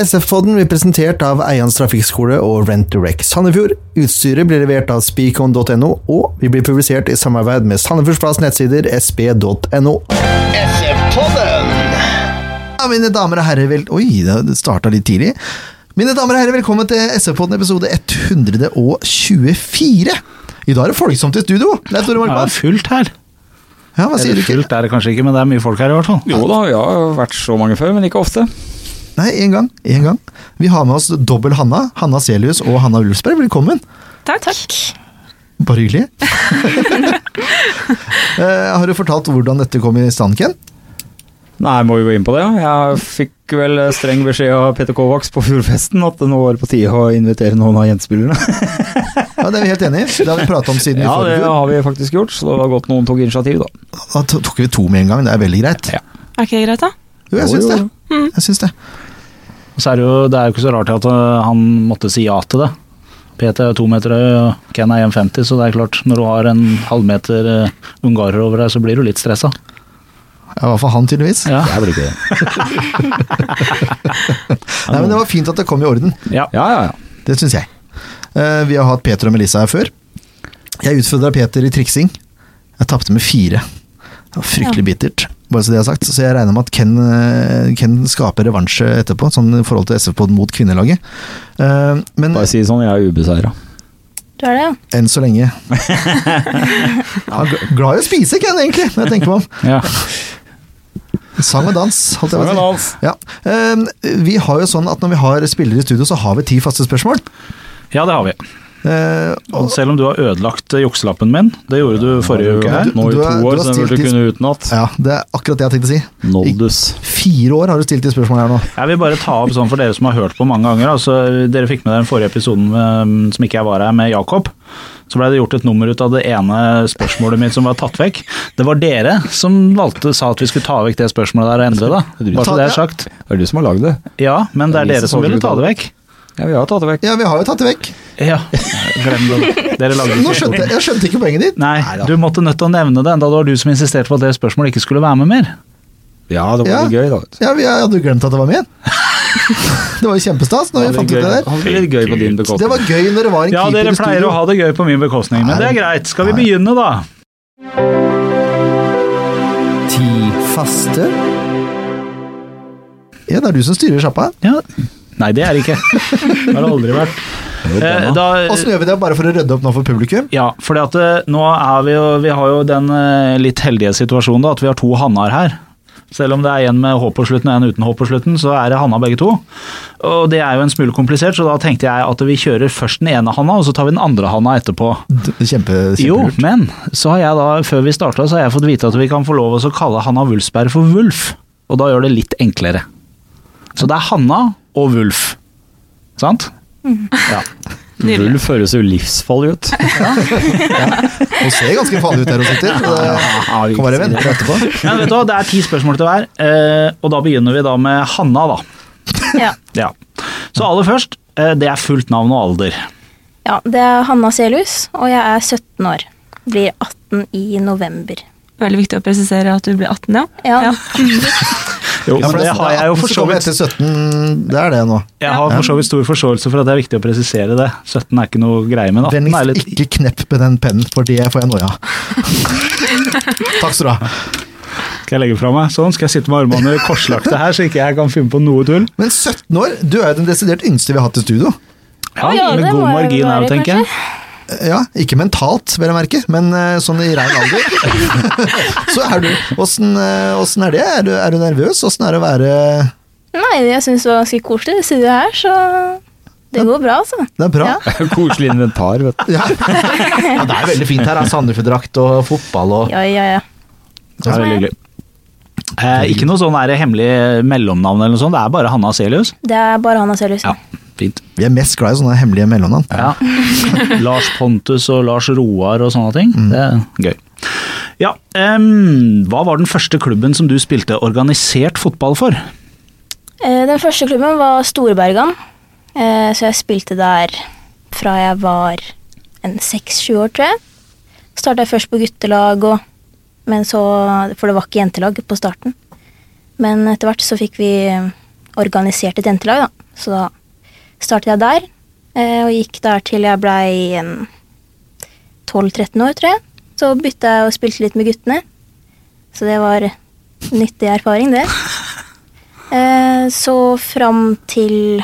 SF-podden blir presentert av Eians Trafikkskole og Rent2Rec Sandefjord. Utstyret blir levert av speakon.no, og vi blir publisert i samarbeid med Sandefjordsplass nettsider sp.no. Ja, mine damer og herrer, vel... Oi, det starta litt tidlig. Mine damer og herrer, velkommen til SF-podden episode 124. I dag er det folksomt i studio. Det er Tore Det er Markmann. fullt her. Ja, hva sier Eller du ikke? fullt er det kanskje ikke, men det er mye folk her i hvert fall. Jo da, jeg har vært så mange før, men ikke ofte. Nei, én gang. En gang. Vi har med oss dobbel Hanna. Hanna Selius og Hanna Ulfsberg, velkommen. Takk. Bare hyggelig. Eh, har du fortalt hvordan dette kom i stand, Ken? Nei, må vi gå inn på det? ja? Jeg fikk vel eh, streng beskjed av Peter Kovacs på Fjordfesten at det nå var på tide å invitere noen av gjentespillerne. Ja, Det er vi helt enig i. Det har vi pratet om siden Ja, vi det forrige. har vi faktisk gjort, så det var godt noen tok initiativ, da. Da to- tok vi to med en gang. Det er veldig greit. Ja. Er ikke det greit, da? Jo, jeg Jo, syns jo, det. Jeg syns det. Og så er det jo det er jo ikke så rart at øh, han måtte si ja til det. Peter er jo to meter høy, og Ken er 1,50, så det er klart, når du har en halvmeter øh, ungarer over deg, så blir du litt stressa. Ja, I hvert fall han, tydeligvis. Ja. Jeg blir ikke det. Nei, men Det var fint at det kom i orden. Ja. Ja, ja, ja. Det syns jeg. Eh, vi har hatt Peter og Melissa her før. Jeg utfordra Peter i triksing. Jeg tapte med fire. Det var fryktelig bittert, bare så det er sagt. Så jeg regner med at Ken, eh, Ken skaper revansje etterpå, sånn i forhold til SV-pod mot kvinnelaget. Eh, men Bare si det sånn, jeg er ubeseira. Du er det, ja. enn så lenge Han er gl- glad i å spise, Ken, egentlig, når jeg tenker meg om. Ja. Sang og dans, holdt jeg på å si. Dans. Ja. Eh, vi har jo sånn at når vi har spillere i studio, så har vi ti faste spørsmål. ja, det har vi. Eh, Og selv om du har ødelagt øh, jukselappen min, det gjorde du forrige uke her. Nå i Du- du to har- du har år, så den stilt burde i- kunne utenat. ja, det er akkurat det jeg tenkte å si. Noldus. Fire år har du stilt de spørsmålene her nå. Jeg vil bare ta opp sånn for dere som har hørt på mange ganger. Altså, dere fikk med den forrige episoden eh, som ikke jeg var her, med Jakob. Så ble det gjort et nummer ut av det ene spørsmålet mitt som var tatt vekk. Det var dere som valgte sa at vi skulle ta vekk det spørsmålet der og endre det. Bare så det er sagt. Det er du som har lagd det. Ja, men det er dere som ville ta det vekk. Ja, vi har tatt det vekk. Ja, vi har jo tatt det vekk. Ja, glem det. Dere lagde Nå skjønte jeg, jeg skjønte ikke poenget ditt. Nei, du måtte nødt til å nevne det, enda det var du som insisterte på at det spørsmålet ikke skulle være med mer. Ja, det Ja. var litt gøy, da. Ja, vi- Jeg hadde jo glemt at det var med. Det var jo kjempestas når jeg var fant litt ut det gøy, der. hadde litt gøy på din Det bekostning. var gøy når det var en Ja, keeper dere i pleier studio. å ha det gøy på min bekostning, men det er greit. Skal vi Nei. begynne, da? Ti faste Ja, det er du som styrer sjappa. Ja. Nei, det er det ikke. Det har det aldri vært. Eh, da, Åssen gjør vi det bare for å rydde opp nå for publikum? ja, fordi at eh, nå er vi jo Vi har jo den eh, litt heldige situasjonen da, at vi har to Hannar her. Selv om det er en med H på slutten og en uten H på slutten, så er det Hanna begge to. Og det er jo en smule komplisert, så da tenkte jeg at vi kjører først den ene Hanna, og så tar vi den andre Hanna etterpå. D- Kjempe, Jo, kjempelurt. men så har jeg da, før vi starta, så har jeg fått vite at vi kan få lov å kalle Hanna Wulfsberg for Wulf. Og da gjør det litt enklere. Så det er Hanna og Wulf. Sant? Ja. Nydelig. Ulf høres jo livsfarlig ut. Hun ser ganske farlig ut der hun sitter. så Det kan bare vente etterpå. Ja, vet du hva, Det er ti spørsmål til hver, eh, og da begynner vi da med Hanna, da. Ja. Ja. Så aller først, eh, det er fullt navn og alder. ja, det er Hanna Selhus, og jeg er 17 år. Blir 18 i november. Veldig viktig å presisere at du blir 18, ja. Ja. Jo, Ja, for det, har jeg jo for så vidt. Etter 17, det er det nå. Jeg har for så vidt stor forståelse for at det er viktig å presisere det. 17 er ikke noe greie, men 18 er Vennligst litt ikke knepp med den pennen, for det får jeg noia av. Takk skal du ha. Skal jeg legge fra meg? Sånn, skal jeg sitte med armene korslagte her, så ikke jeg kan finne på noe tull? Men 17 år, du er jo den desidert yngste vi har hatt i studio. Ja, Å, ja, med det god må jeg margin være, her, tenker jeg. Ja, ikke mentalt, vil jeg merke, men eh, sånn i rein alder. Så er du Åssen eh, åssen er det? Er du, er du nervøs? Åssen er det å være Nei, jeg syns det var ganske koselig å sitte her, så det går bra, altså. Det er bra. Ja. Koselig inventar, vet du. Ja. ja, det er veldig fint her. Sandefjord-drakt og fotball og Ja, ja, ja. Det er veldig hyggelig. Eh, ikke noe sånn der hemmelig mellomnavn eller noe sånt, det er bare Hanna Selius. Det er bare Hanna Selhus. Ja, fint. Vi er mest glad i sånne hemmelige mellomnavn. Ja. Lars Pontus og Lars Roar og sånne ting. Det er gøy. Ja, em, hva var den første klubben som du spilte organisert fotball for? Eh, Den første klubben var Storbergan, eh, så jeg spilte der fra jeg var en seks-sju år, tror jeg. Starta jeg først på guttelag, og, men så, for det var ikke jentelag på starten. Men etter hvert så fikk vi organisert et jentelag, da. Så da startet jeg der, eh, og gikk der til jeg blei en 12-13 år, tror jeg. Så bytta jeg og spilte litt med guttene. Så det var nyttig erfaring, det. Eh, Så fram til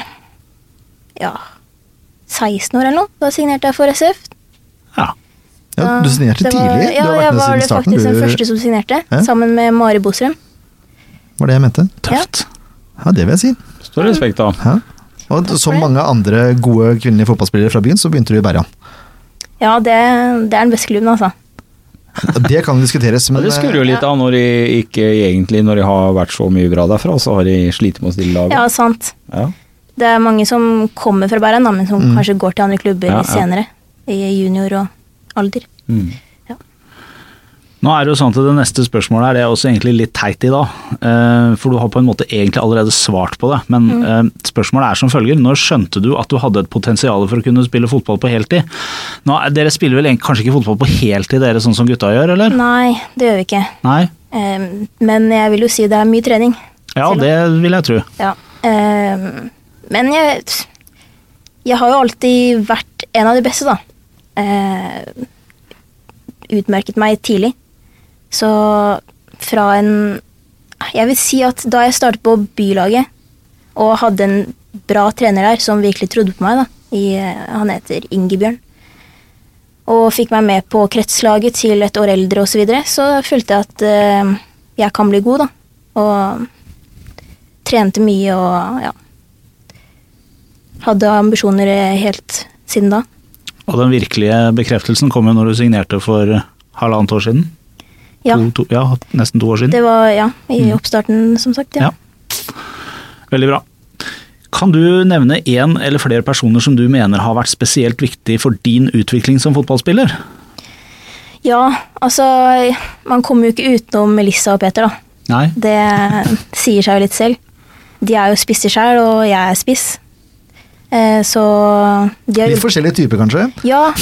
ja 16 år eller noe, da signerte jeg for SF. Ja. Ja, du Da- signerte det var- tidlig. Ja, du har vært jeg med var siden det starten. faktisk den Du, første som signerte, Ja. sammen med Mari Bostrøm. var det jeg mente. Tøft. Ja, det vil jeg si. Stor respekt, da. Ja. Og for som det. mange andre gode kvinnelige fotballspillere fra byen, så begynte du i Bergan. Ja, det, det er den beste klubben, altså. Det kan diskuteres, Ja, men det skurrer jo litt av når de ikke egentlig når de har vært så mye bra derfra, og så har de slitt med å stille laget. Ja, sant. Ja. Det er mange som kommer fra Bergen, da, men som Mm. kanskje går til andre klubber Ja, ja. senere. I junior og alder. Mm. Nå er det jo sånn at Det neste spørsmålet er det er også egentlig litt teit i dag. eh, For du har på en måte egentlig allerede svart på det. Men eh, spørsmålet er som følger. Når skjønte du at du hadde et potensial for å kunne spille fotball på heltid? Nå, er- dere spiller vel egentlig, kanskje ikke fotball på heltid, dere sånn som gutta gjør, eller? Nei, det gjør vi ikke. Nei? Ehm, men jeg vil jo si det er mye trening. Ja, det vil jeg tro. Ja. Ehm, men jeg Jeg har jo alltid vært en av de beste, da. Ehm, utmerket meg tidlig. Så fra en Jeg vil si at da jeg startet på bylaget og hadde en bra trener der som virkelig trodde på meg, da i, eh, Han heter Ingebjørn. Og fikk meg med på kretslaget til et år eldre osv. Så, videre, så følte jeg at eh, jeg kan bli god, da. Og trente mye og ja. Hadde ambisjoner eh, helt siden da. Og den virkelige bekreftelsen kom jo når du signerte for eh, halvannet år siden. Ja, To, to, ja nesten to år siden. det var ja, i oppstarten, som sagt. Ja. Ja. Veldig bra. Kan du nevne én eller flere personer som du mener har vært spesielt viktig for din utvikling som fotballspiller? ja, altså Man kommer jo ikke utenom Melissa og Peter, da. Nei. Det sier seg jo litt selv. De er jo spisser sjøl, og jeg er spiss. Eh, så de har eh, Litt forskjellige typer, kanskje. Ja.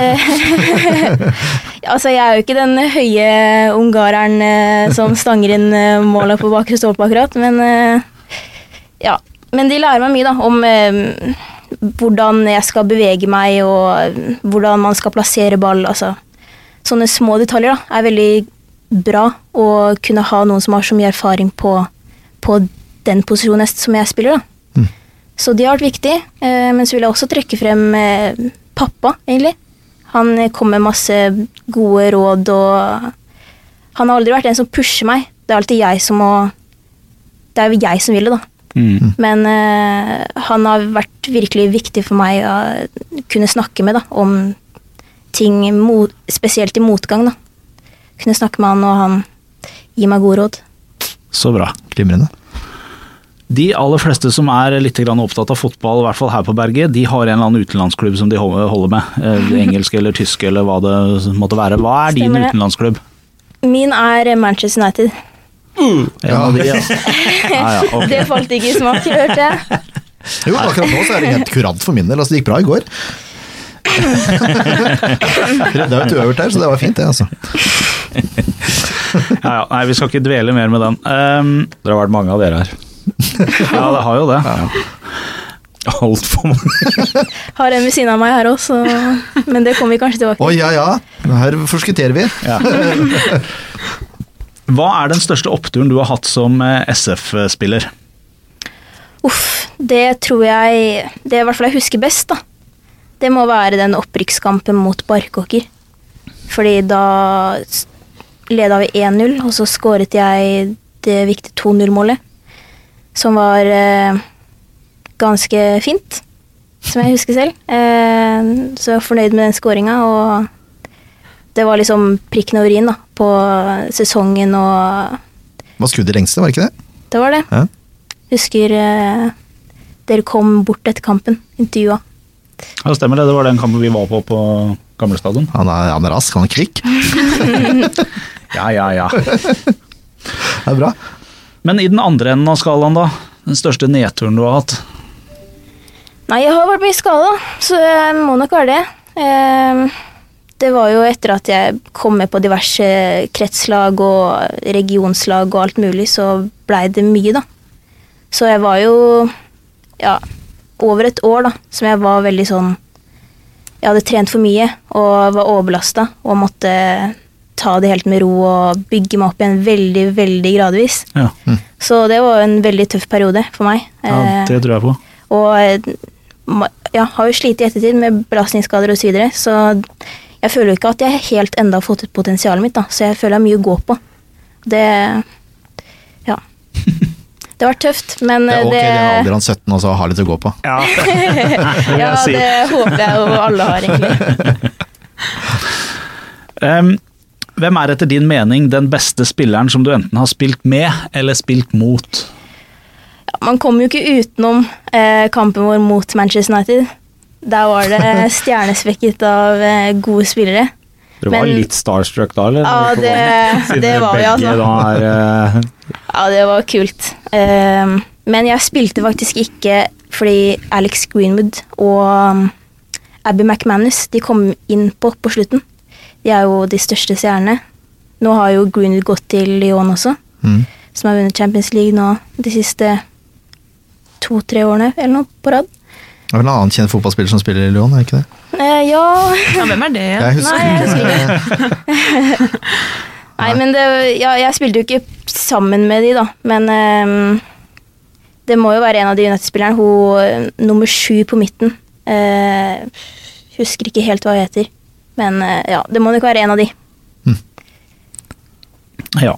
Eh, altså, jeg er jo ikke den høye ungareren eh, som stanger inn eh, måla på bakre stolpe, akkurat, men eh, ja. Men de lærer meg mye, da, om eh, hvordan jeg skal bevege meg, og eh, hvordan man skal plassere ball, altså. Sånne små detaljer, da, er veldig bra å kunne ha noen som har så mye erfaring på, på den posisjonen jeg- som jeg spiller, da. Så de har vært viktige. Eh, men så vil jeg også trekke frem eh, pappa, egentlig. Han eh, kom med masse gode råd og Han har aldri vært en som pusher meg. Det er alltid jeg som må Det er jo jeg som vil det, da. Mm. Men eh, han har vært virkelig viktig for meg å kunne snakke med da, om ting, mot, spesielt i motgang. da. Kunne snakke med han, og han gir meg gode råd. Så bra. Glimrende. De aller fleste som er litt grann opptatt av fotball, i hvert fall her på berget, de har en eller annen utenlandsklubb som de holder holder med. Eh, Engelsk eller tysk eller hva det måtte være. Hva er din Stemmer det. utenlandsklubb? Min er Manchester United. En av de, ja. Ja, ja, ok. Det falt ikke i smak, hørte jeg. Jo, akkurat nå så er det helt kurant for min del. Altså, det gikk bra i går. Redda ut uøvert der, så det var fint, det, altså. ja, ja. Nei, vi skal ikke dvele mer med den. Ehm, Det har vært mange av dere her. ja, det har jo det. Altfor mange. har en ved siden av meg her også, så- men det kommer vi kanskje tilbake Å til. ja ja, her forskutterer vi. Hva er den største oppturen du har hatt som eh, SF-spiller? Uff, det tror jeg Det er i hvert fall jeg husker best, da. Det må være den opprykkskampen mot Barkåker. Fordi da s- leda vi 1-0, og så skåret jeg det viktige 2-0-målet. Som var eh, ganske fint, som jeg husker selv. Eh, så jeg var fornøyd med den skåringa, og det var liksom prikken over i-en da, på sesongen og Var skudd i lengste, var det ikke det? Det var det. Ja. Husker eh, dere kom bort etter kampen, intervjua. Ja, det stemmer det. Det var den kampen vi var på på gamle stadion. Han er, han er rask, han er kvikk. Ja, ja, ja. Det er bra. Men i den andre enden av skalaen, da? Den største nedturen du har hatt? Nei, jeg har vært mye skada, så jeg må nok være det. Eh, det var jo etter at jeg kom med på diverse kretslag og regionslag og alt mulig, så blei det mye, da. Så jeg var jo ja, over et år, da, som jeg var veldig sånn Jeg hadde trent for mye og var overbelasta og måtte ta det helt med ro og bygge meg opp igjen veldig, veldig gradvis. Ja, Mm. Så det var jo en veldig tøff periode for meg. ja Eh, det tror jeg på. og eh, ma- ja, har jo slitt i ettertid med belastningsskader osv. Så, videre, så jeg føler jo ikke at jeg helt enda har fått ut potensialet mitt. da, Så jeg føler jeg har mye å gå på. Det Ja. Det har vært tøft, men Det eh, er ok, det, det er alderen 17 også, og har litt å gå på. Ja, ja, jeg si. det håper jeg jo alle har, egentlig. Ehm, hvem er etter din mening den beste spilleren som du enten har spilt med eller spilt mot? Ja, man kommer jo ikke utenom eh, kampen vår mot Manchester United. Der var det stjernesvekket av eh, gode spillere. Dere var Men- litt starstruck da, eller? Ja, det, Siden det var vi, begge altså. Da er, eh, Ja, det var kult. Ehm, men jeg spilte faktisk ikke fordi Alex Greenwood og um, Abby McManus de kom inn på på slutten. De er jo de største stjernene. Nå har jo Greenwood gått til Lyon også, Mm. som har vunnet Champions League nå de siste to-tre årene eller noe på rad. Det er vel en annen kjent fotballspiller som spiller i Lyon, er det ikke det? Eh, ja Ja, hvem er det? Jeg husker Nei, jeg ikke. Nei, men det, ja, jeg spilte jo ikke sammen med de, da. Men ehm, det må jo være en av de United-spillerne. Hun eh, nummer sju på midten. Eh, husker ikke helt hva hun heter. Men eh, ja, det må nok være en av de. Ja,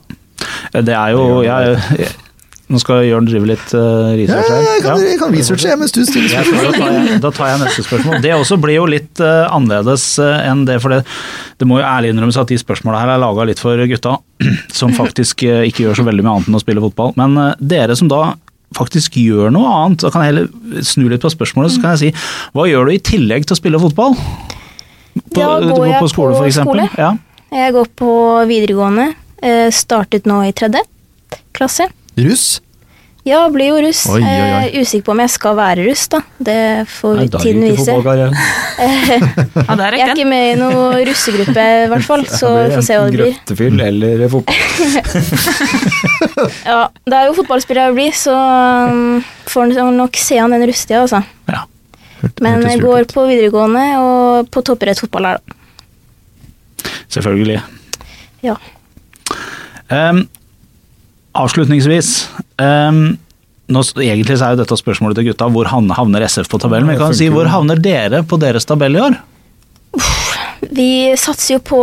det er jo jeg, jeg, Nå skal Jørn drive litt Ja, eh, research ja, her. jeg kan, Ja. jeg kan researche jeg, mens du stiller Jeg spørsmål. tror Da tar jeg, da tar jeg neste spørsmål. Det også blir jo litt eh, annerledes eh, enn det, for det, det må jo ærlig innrømmes at de spørsmåla her er laga litt for gutta, som faktisk eh, ikke gjør så veldig mye annet enn å spille fotball. Men eh, dere som da faktisk gjør noe annet, da kan jeg heller snu litt på spørsmålet, så kan jeg si hva gjør du i tillegg til å spille fotball? På, Ja, du går går jeg på skole, på for eksempel? skole? Ja. Jeg går på videregående. eh, startet nå i tredje klasse. Russ? Ja, blir jo russ. Oi, oi, oi. Eh, usikker på om jeg skal være russ, da. Det får Nei, da er det tiden jo ikke vise. fotballkarriere. Ja, der Jeg er røk ikke den. med i noen russegruppe, i hvert fall, så Da blir det får se hva enten det blir. Grøftefyll eller fotball. Ja, det er jo fotballspiller jeg vil bli, så um, får han nok se han den rustige, altså. Ja. Men hørtes jeg lurt går på videregående og på toppidrettsfotball her, da. Selvfølgelig. Ja. Ehm, avslutningsvis ehm, nå, s- Egentlig så er jo dette spørsmålet til gutta hvor han- havner SF på tabellen. Men jeg kan si hvor havner dere på deres tabell i år? Vi satser jo på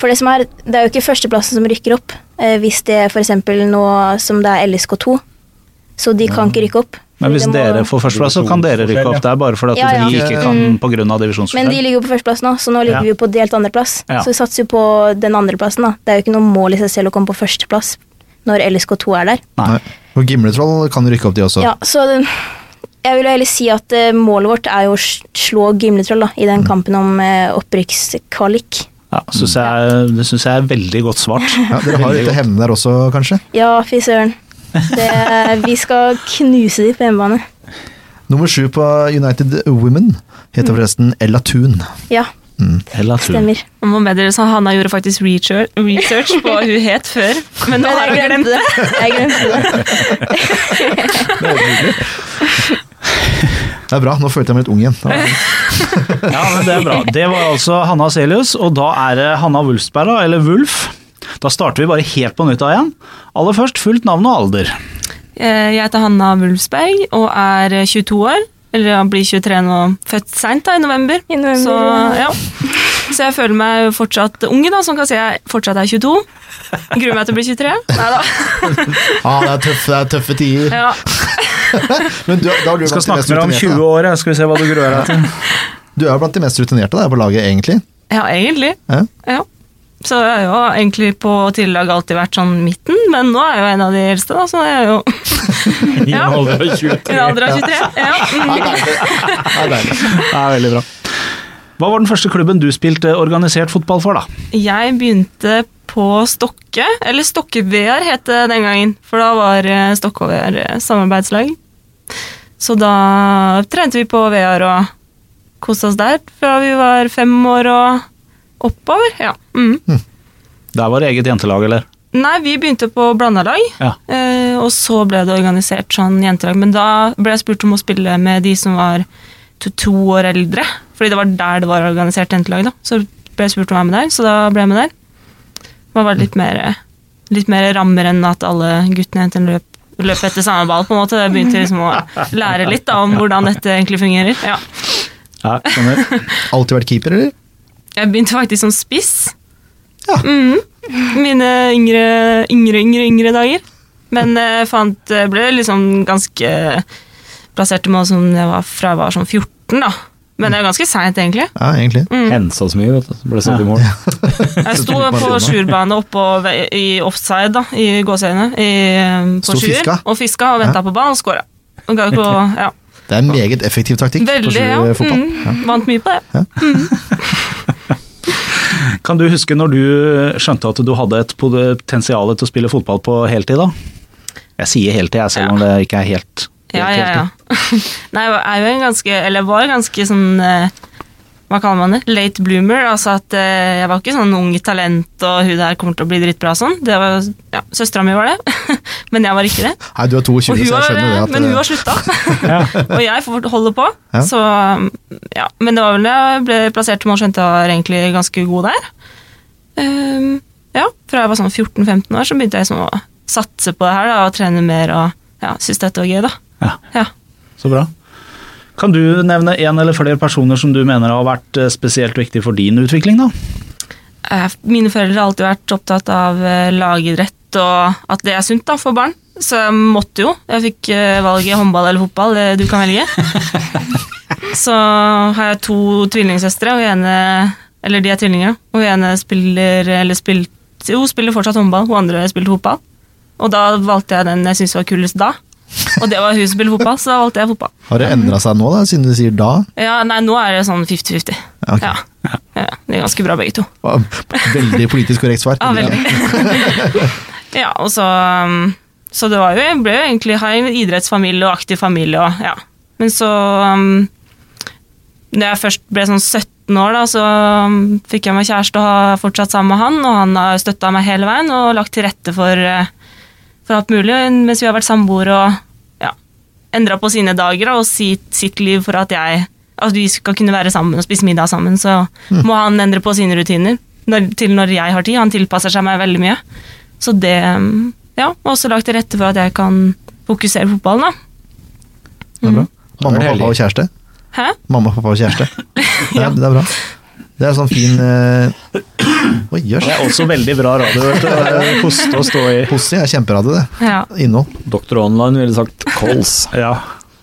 For det som er, det er jo ikke førsteplassen som rykker opp. Eh, hvis det f.eks. nå som det er LSK2, så de kan ikke rykke opp. Mm. Men hvis Det må- dere får førsteplass, så kan dere rykke opp. Det er bare fordi at Ja, ja. Mm. vi ikke kan pga. divisjonsforskjell. Men de ligger jo på førsteplass nå, så nå ligger Ja. vi jo på delt andreplass. Ja. Så vi satser jo på den andreplassen, da. Det er jo ikke noe mål i seg selv å komme på førsteplass når LSK2 er der. Nei. Nei. Og Gimletroll kan rykke opp, de også. Ja, så det, jeg vil jo heller si at eh, målet vårt er jo å s- slå Gimletroll da, i Mm. den kampen om eh, opprykkskvalik. Ja, synes jeg, det syns jeg er veldig godt svart. Ja, dere har litt å hevne der også, kanskje? Ja, fy søren. Det- Vi skal knuse de på hjemmebane. Nummer sju på United Women Mm. heter forresten Ella Thun. Ja, Eller at du- stemmer. Nå må med dere sa Hanna gjorde faktisk research, research på hva hun het før, men nå har hun glemt det. Jeg glemte det. Det er bra, nå følte jeg meg litt ung igjen. Det var fint. Ja, men det er bra. Det var altså Hanna Selius, og da er det Hanna Wulfsberg, da, eller Wulf. Da starter vi bare helt på nytt av igjen. Aller først fullt navn og alder. Eh, Jeg heter Hanna Wulfsberg og er eh, 22 år. Eller jeg blir 23 nå, født seint i november. I november, så, ja. ja. så jeg føler meg jo fortsatt ung, da, som kan si jeg fortsatt er 22. Gruer meg til å bli 23. Neida. Ah, det, er tøffe, det er tøffe tider. Ja. Men du, da er du, Vi blant skal de snakke mest med deg om rutinerte, 20 da. år, ja. skal vi se hva du gruer deg til. du er jo blant de mest rutinerte der på laget, egentlig. ja, egentlig. Ja. Ja. Så jeg har jo egentlig på tidligere lag alltid vært sånn midten, men nå er jeg jo en av de eldste, da, så jeg er jo I en Ja. alder av 20. i en alder av 23. Ja. Ja, deilig. Ja, deilig. Det er veldig bra. Hva var den første klubben du spilte organisert fotball for, da? Jeg begynte på Stokke, eller Stokke-VR het det den gangen, for da var eh, Stokke og VR eh, samarbeidslag. Så da trente vi på VR og koste oss der fra vi var fem år og oppover. Ja. Mm. Der var det eget jentelag, eller? Nei, vi begynte på blanda lag, Ja. eh, og så ble det organisert sånn jentelag. Men da ble jeg spurt om å spille med de som var to, to år eldre, fordi det var der det var organisert jentelag. da. Så ble jeg spurt om å være med der, så da ble jeg med der. Det var bare litt mer, litt mer rammer enn at alle guttene og jentene løp, løp etter samme ball, på en måte. Jeg begynte liksom å lære litt da, om hvordan dette egentlig fungerer. Ja. Ja, skjønner. Alltid vært keeper, eller? Jeg begynte faktisk som spiss. Ja. Mhm. Mine yngre, yngre, yngre, yngre dager. Men jeg fant, eh, ble liksom ganske plassert meg som jeg var fra jeg var sånn 14, da. Men det er ganske seint, egentlig. Mm. Ja, egentlig. Hensa så mye, vet du. så Ble satt i mål. Jeg sto på sjurbane oppå ve- i offside, da, i gåseøyne, i- på Sto og fiska? sjuer. Og fiska og venta på ballen og scora. Og ga på, ja. Det er en meget effektiv taktikk på Veldig, ja. sjuerfotball. Ja. Mm. Vant mye på det. Kan du huske når du skjønte at du hadde et potensial til å spille fotball på heltid, da? Jeg sier heltid, jeg, selv om det ikke er helt, helt Ja, ja, heltid. ja. Nei, jeg er jo en ganske, eller jeg var ganske sånn eh, Hva kaller man det? Late bloomer. Altså at eh, jeg var ikke sånn ung talent og hun der kommer til å bli dritbra og sånn. Det var, ja, Søstera mi var det, men jeg var ikke det. Nei, du er 22, Og så hun jeg har, skjønner det. At, eh, men hun har slutta, og jeg får holde på. Ja. Så ja, Men det var vel da jeg ble plassert til mål, skjønte jeg var egentlig ganske god der. Ehm, ja, Fra jeg var sånn 14-15 år, så begynte jeg sånn å satse på det her da, og trene mer og ja, syntes dette var gøy. da. Ja. Ja. Så bra. Kan du nevne én eller flere personer som du mener har vært eh, spesielt viktig for din utvikling, da? Eh, Mine foreldre har alltid vært opptatt av eh, lagidrett og at det er sunt da, for barn. Så jeg måtte jo. Jeg fikk eh, valget håndball eller fotball. Det du kan velge. Så har jeg to tvillingsøstre, og ene Eller de er tvillinger, da. Og ene spiller eller spilt, jo, spiller fortsatt håndball, hun andre spilte fotball. Og da valgte jeg den jeg syntes var kulest da. Og det var hun som spilte fotball, så da valgte jeg fotball. Har det endra seg nå, da, siden du sier da? Ja, nei, nå er det sånn 50-50. Ja, ok. Ja. Ja, det er ganske bra, begge to. Veldig politisk korrekt svar. Ja, veldig. ja, og så um, Så det var jo Jeg ble jo egentlig ha en idrettsfamilie og aktiv familie og ja. Men så um, Når jeg først ble sånn 17 år, da, så um, fikk jeg meg kjæreste og har fortsatt sammen med han, og han har støtta meg hele veien og lagt til rette for, eh, for alt mulig mens vi har vært samboere og ja, endra på sine dager da, og sitt, sitt liv for at jeg at vi skal kunne være sammen og spise middag sammen, så Mm. må han endre på sine rutiner når, til når jeg har tid. Han tilpasser seg meg veldig mye. Så det um, Ja, og også lagt til rette for at jeg kan fokusere på fotballen, da. Mamma, pappa og kjæreste. Hæ? Mamma, pappa og kjæreste. Det er, det er bra. Det er sånn fin eh, Oi, jøss. Det er også veldig bra radio, vet du. Koste å stå i. Posse er kjemperadio, det. Ja. Innhold. Doktor Online ville sagt Kols. Ja.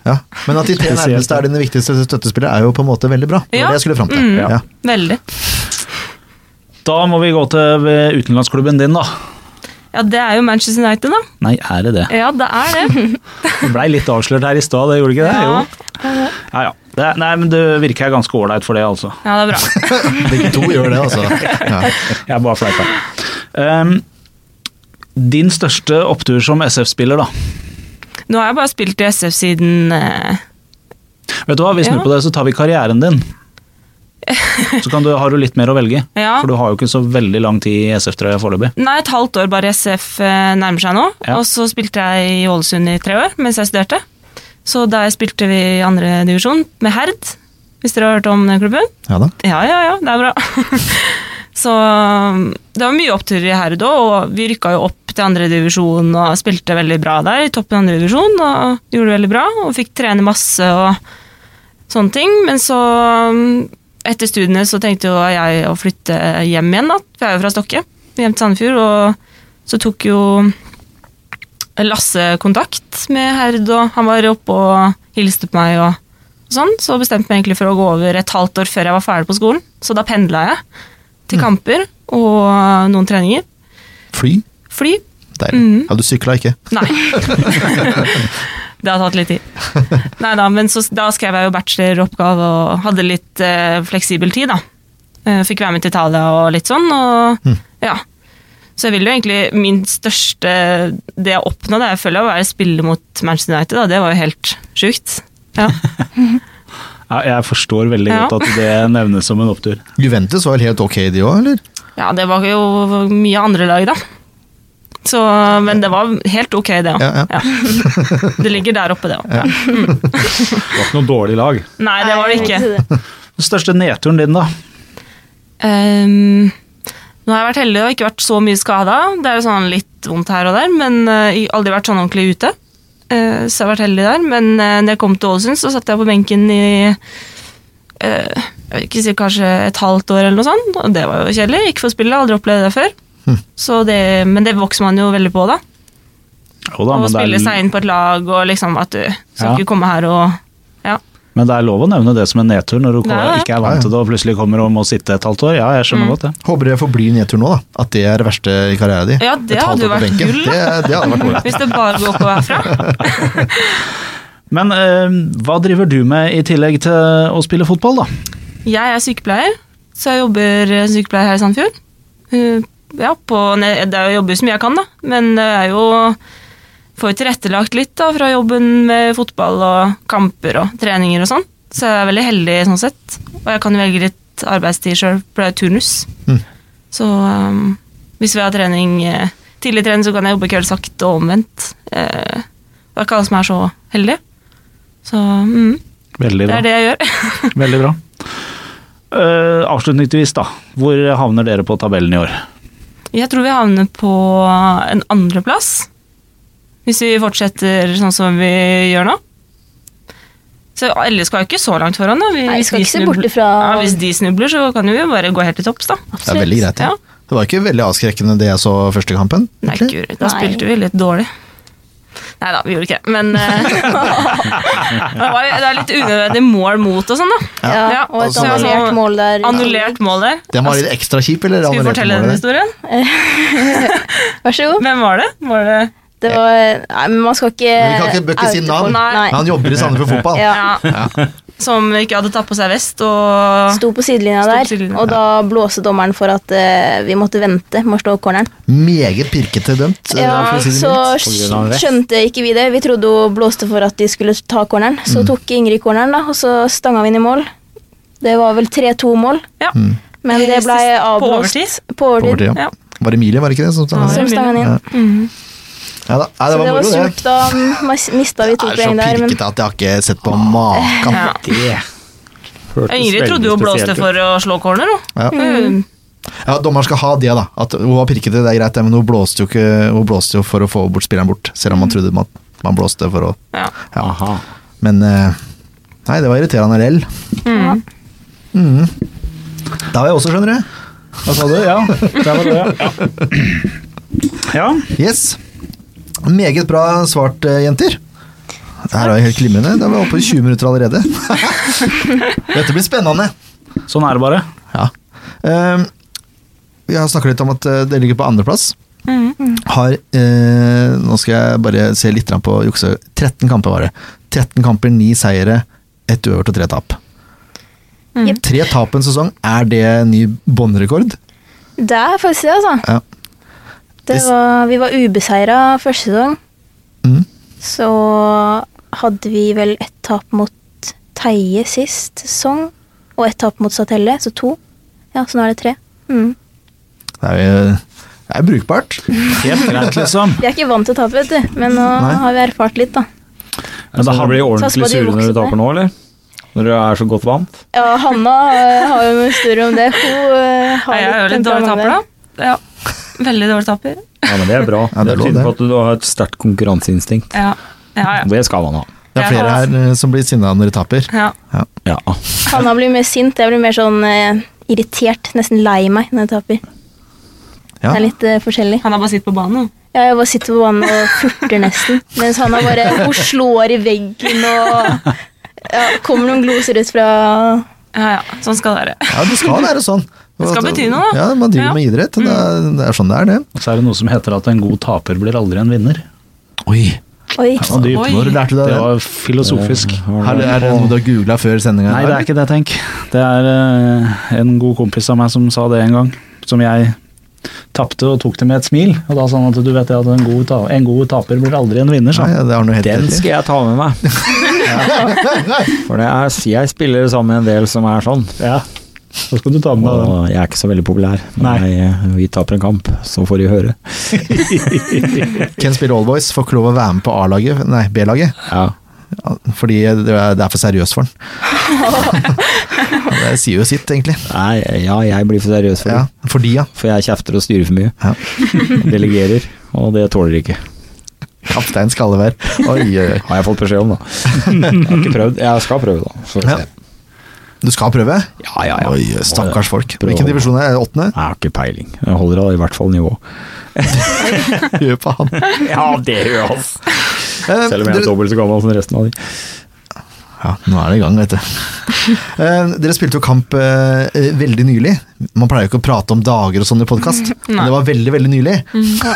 Ja. Men at de tre Spesielt, nærmeste ja. er dine viktigste støttespillere, er jo på en måte veldig bra. Det Ja. var det jeg skulle fram til. Mm. Ja. Veldig. Da må vi gå til eh, utenlandsklubben din, da. Ja, det er jo Manchester United, da. Nei, er det det? Ja, det er det. Det blei litt avslørt her i stad, det gjorde ikke det? Ja, Jo. Ja, ja. Det, nei, men det virker ganske ålreit for det, altså. ja det er bra. Begge to gjør det, altså. Ja. Jeg bare fleipa. Ehm, din største opptur som SF-spiller, da? Nå har jeg bare spilt i SF siden eh, Vet du hva, Vi snur Ja. på det, så tar vi karrieren din. Så kan du, har du litt mer å velge. Ja. For du har jo ikke så veldig lang tid i SF-trøya foreløpig. Nei, et halvt år bare SF eh, nærmer seg nå. Ja. Og så spilte jeg i Ålesund i tre år mens jeg studerte. Så der spilte vi i andre divisjon med Herd, hvis dere har hørt om den klubben. ja da. Ja, ja, ja, det er bra. så um, det var mye oppturer i Herd òg, og vi rykka jo opp til andre divisjon og spilte veldig bra der, i toppen av andre divisjon, og gjorde det veldig bra, og fikk trene masse og sånne ting. Men så, um, etter studiene, så tenkte jo jeg å flytte hjem igjen, da, for jeg er jo fra Stokke, hjem til Sandefjord, og så tok jo Lasse kontakt med Herd, og han var oppe og hilste på meg og og sånn, så bestemte jeg meg egentlig for å gå over et halvt år før jeg var ferdig på skolen. Så da pendla jeg til kamper og noen treninger. Fly. Fly? Deilig. Mm. Ja, du sykla ikke. Nei. det har tatt litt tid. Nei da, men så, da skrev jeg jo bacheloroppgave og hadde litt eh, fleksibel tid, da. Eh, fikk være med til Italia og litt sånn, og ja. Så jeg vil jo egentlig Min største Det jeg oppnådde, jeg føler å være spille mot Manchester United, da. Det var jo helt sjukt. Ja. Ja, jeg forstår veldig Ja. godt at det nevnes som en opptur. Juventus var vel helt ok, de òg, eller? Ja, det var jo mye andre lag, da. Så, men det var helt ok, det òg. Ja, ja. Det ligger der oppe, det òg. Det var ikke noe dårlig lag. Nei, det var det ikke. Den største nedturen din, da? Ehm, nå har jeg vært heldig og ikke vært så mye skada. Det er jo sånn litt vondt her og der, men eh, jeg har aldri vært sånn ordentlig ute. Eh, så jeg har vært heldig der. Men eh, når jeg kom til Ålesund, så satt jeg på benken i eh, jeg vil ikke si kanskje et halvt år, eller noe sånt. Og det var jo kjedelig. Ikke få spille, aldri opplevd det før. Hm. Så det, men det vokser man jo veldig på, da. Jo da, Å men, spille det seg er, inn på et lag og liksom at du Ja. skal ikke komme her og ja. men det er lov å nevne det som en nedtur når du ko- Ja, ja. ikke er vant til det og plutselig kommer og må sitte et halvt år. Ja, jeg Mm. skjønner godt det. Håper det forblir nedtur nå, da. At det er det verste i karrieren din. Ja, det Et halvt hadde jo år på vært benken. gull, da. Det, det hadde vært ålreit. Hvis det bare går oppover herfra. Men eh, hva driver du med i tillegg til å spille fotball, da? Jeg er sykepleier, så jeg jobber eh, sykepleier her i Sandfjord. Eh, Ja, på, ne- det er jo jobber som jeg kan, da, men det er jo Får jo tilrettelagt litt da, fra jobben med fotball og kamper og treninger og sånn. Så jeg er veldig heldig sånn sett. Og jeg kan velge litt arbeidstid sjøl, for det er turnus. Mm. Så eh, hvis vi har trening eh, tidlig trening, så kan jeg jobbe kveldsvakt og omvendt. Eh, det er ikke alle som er så heldige. Så mm, Veldig det bra. er det jeg gjør. Veldig bra. Eh, avslutningsvis, da. Hvor havner dere på tabellen i år? Jeg tror vi havner på en andreplass. Hvis vi fortsetter sånn som vi gjør nå. Så LSK er jo ikke så langt foran, da. Nei, vi skal de ikke se snubler- bort ifra- ja, Hvis de snubler, så kan vi jo bare gå helt til topps, da. Det er veldig greit. Ja. Ja. Det var ikke veldig avskrekkende det jeg så første kampen. Nei, egentlig. guri, da Nei. spilte vi litt dårlig. Nei da, vi gjorde ikke det, men eh, det, var, det er litt unødvendig mål mot og sånn, da. Ja, Ja, og et altså, annullert mål der. Annullert mål der. Den var litt ekstra kjip, eller? Skal vi annullerte fortelle den målet? historien? Vær så god. Hvem var det? Var det Det var Nei, men man skal ikke Men vi kan ikke- bør ikke si oute navn. folk. Nei. Han jobber i Sandefjord fotball. Ja. ja. Som ikke hadde tatt på seg vest og Sto på sidelinja Sto på der, sidelinja. og da blåste dommeren for at eh, vi måtte vente med å slå corneren. Meget pirkete dømt. eh, Ja, for å si det så mildt. grunn av rest. skjønte ikke vi det. Vi trodde hun blåste for at de skulle ta corneren. Mm. Så tok Ingrid corneren, da, og så stanga vi inn i mål. Det var vel 3-2-mål, Ja. men det ble Sist- på avblåst overtid. på På overtid, overtid. ja. Ja. Var det Emilie, var det ikke det? Som Ja, ja. Som stanga den inn. Ja. Ja, da. Nei, Så det var det var moro, det. surt. Da mas- mista vi Det to er så poeng der. Men pirkete at jeg har ikke sett på maken. Ja. Det hørtes Ingrid trodde hun veldig blåste spesielt ut. for å slå corner, hun. Ja. Mm. Ja, Dommeren skal ha det, da. At hun var pirkete, det er greit, det, men hun blåste jo, ikke, hun blåste jo for å få bort spilleren bort. Selv om man trodde man, man blåste for å Ja. ja. Aha. Men eh, Nei, det var irriterende lell. Mm. Mhm. Da var jeg også, skjønner du. Hva sa du? Ja, der var du, ja. ja. Yes. Meget bra svart, eh, jenter. Det her er jo helt glimrende. Da var vi oppe i 20 minutter allerede. Dette blir spennende. Sånn er det bare. Ja. Eh, Vi har snakket litt om at eh, det ligger på andreplass. Mm. Har eh, Nå skal jeg bare se litt grann på jukse. 13 kamper var det. 13 kamper, 9 seire, 1 uavgjort og 3 tap. Mm. Jep. Tre tap en sesong, er det ny båndrekord? det er faktisk det, altså. Ja. Det var, vi var ubeseira første sesong. Mm. Så hadde vi vel ett tap mot Teie sist sesong, og ett tap mot Satelle, så to. Ja, så nå er det tre. Mm. Det er jo det er brukbart. Helt greit, liksom. Vi er ikke vant til å tape, vet du, men nå Nei. har vi erfart litt, da. Men Men det da har Altså, blir blitt dere Satser på ordentlig at de sure når vokser dere taper nå, eller? Når dere er så godt vant? Ja, Hanna eh, har jo noen historier om det. Hun eh, har Nei, jeg er jo litt dårlig temperament taper, der. da. Ja. Veldig dårlig taper. Ja, men det er bra. Ja, det det er lov, tyder det. på at du har et sterkt konkurranseinstinkt. Ja. Ja, Og ja. Det skal man ha. Det er Jeg flere har- her eh, som blir sinna når de taper. ja. Ja. Hanna blir mer sint, jeg blir mer sånn eh, irritert, nesten lei meg når jeg taper. Ja. Det er litt eh, forskjellig. Han har bare sittet på banen. Ja, jeg bare sitter på banen og furter nesten, mens Hanna bare hun slår i veggen og ja, kommer noen gloser ut fra Ja, ja. Sånn skal det være. Ja, det skal være sånn. Det skal bety noe, da. Ja, man driver Ja. Mm. med idrett. Det er, det er sånn det er, det. Og så er det noe som heter at en god taper blir aldri en vinner. Oi, Oi. Og dypt. Oi. Når lærte du deg Det det? var filosofisk. Er det, er det noe du har googla før sendinga? Nei, det er ikke det, tenk. Det er eh, en god kompis av meg som sa det en gang. Som jeg tapte og tok det med et smil. Og da sa han at du vet det at en god, ta en god taper blir aldri en vinner, sa Nei, han. ja, det har noe helt Den rett i. skal jeg ta med meg. For det er, jeg spiller sammen med en del som er sånn. Ja. Da skal du ta med deg den. Og jeg er ikke så veldig populær. Men Nei. jeg, vi taper en kamp, så får de høre. Ken spiller Allboys, får ikke lov å være med på A-laget, nei, B-laget. Ja. Ja, Fordi det er det er for seriøst for han. Ja, det sier jo sitt, egentlig. Nei, ja, jeg blir for seriøs for det. Ja, fordi, ja. For jeg kjefter og styrer for mye. Ja. Delegerer, og det tåler de ikke. Kaptein Skallevær. Oi, oi, oi. Har jeg fått beskjed om, da. Jeg har ikke prøvd. Jeg skal prøve, da. Så får vi Ja. se. Du skal prøve? Ja, ja, ja. Oi, stakkars folk. Prøv. Hvilken divisjon er det? Åttende? Jeg har ikke peiling. Jeg holder da i hvert fall nivå. Gjør på han. Ja, det gjør jeg, ass. Eh, Selv om jeg er dere- dobbelt så gammel som resten av de. Ja, nå er det i gang, vet du. Eh, Dere spilte jo kamp eh, eh, veldig nylig. Man pleier jo ikke å prate om dager og sånn i podkast, men det var veldig, veldig nylig.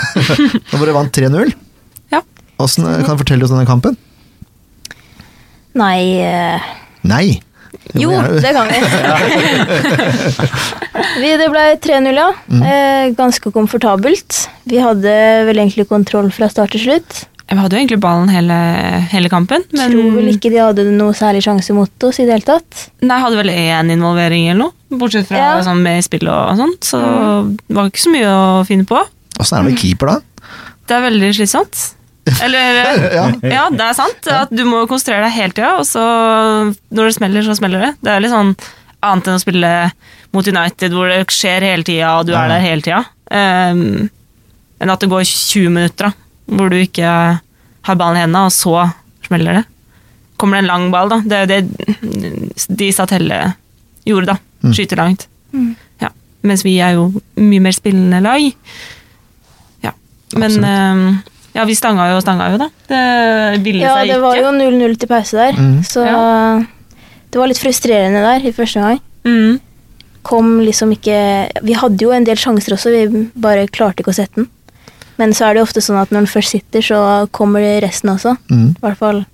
Da dere vant 3-0. Ja. Hvordan, eh, kan du fortelle oss denne kampen? Nei eh, Nei! Det må Jo, jeg gjerne- det kan vi. vi det ble 3-0, ja. Mm. Eh, ganske komfortabelt. Vi hadde vel egentlig kontroll fra start til slutt. Vi hadde jo egentlig ballen hele, hele kampen, men Tror vel ikke de hadde noe særlig sjanse mot oss i det hele tatt. Nei, hadde vel én involvering eller noe, bortsett fra Ja. sånn med spill og sånt. Så det var ikke så mye å finne på. Åssen er det med keeper, da? Det er veldig slitsomt. Eller ja. det er sant. At du må konsentrere deg hele tida, og så når det smeller, så smeller det. Det er litt sånn annet enn å spille mot United, hvor det skjer hele tida, og du Ja. er der hele tida. Ehm, enn at det går 20 minutter, da, hvor du ikke har ballen i hendene, og så smeller det. Kommer det en lang ball, da. Det er jo det de Satelle gjorde, da. Mm. Skyter langt. Ja. Mens vi er jo mye mer spillende lag. Ja. Men eh, ja, vi stanga jo og stanga jo, da. Det ville Ja, seg det ikke. var jo 0-0 til pause der, Mhm. så det var litt frustrerende der i første gang. Mm. Kom liksom ikke Vi hadde jo en del sjanser også, vi bare klarte ikke å sette den. Men så er det jo ofte sånn at når den først sitter, så kommer det resten også. Mm. I hvert fall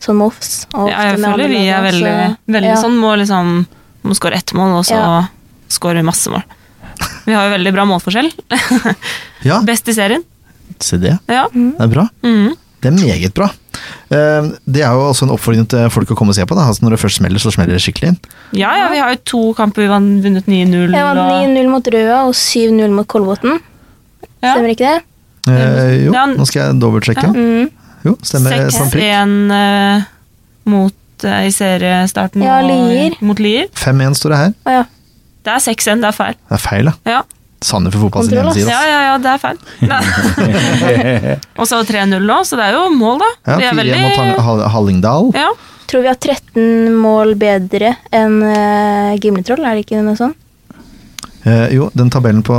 sånn med oss. og Ja, ofte jeg med andre føler vi er lag, veldig, så- veldig ja. sånn. Må liksom må skåre ett mål, og så Ja. skårer vi masse mål. Vi har jo veldig bra målforskjell. Ja, Best i serien. se det. Ja. Det er bra. Mm. Det er meget bra. Eh, Det er jo også en oppfordring til folk å komme og se på. Da. Altså, når det først smeller, så smeller det skikkelig inn. ja, ja, vi har jo to kamper vi vant- vunnet 9-0. Jeg vant og- 9-0 mot Røa og 7-0 mot Kolbotn. Ja. Stemmer ikke det? Eh, Jo, Ja, n- nå skal jeg dobbeltsjekke. Mm. Jo, stemmer sånn prikk. 6-1 eh, mot eh, i seriestarten Ja, og- Lier. mot Lier. 5-1 står det her. Å ja. Det er 6-1, det er feil. Det er feil, da. Ja, Sanne for fotball sin Kontroll, ass. hjemmeside. altså. ja, ass. ja, ja det er feil. Nei. og så 3-0 nå, så det er jo mål, da. Ja, vi 4-1 er mot Hall- veldig Hall- Hallingdal. ja. Tror vi har 13 mål bedre enn uh, Gimletroll, er det ikke noe sånn? sånt? Eh, jo, den tabellen på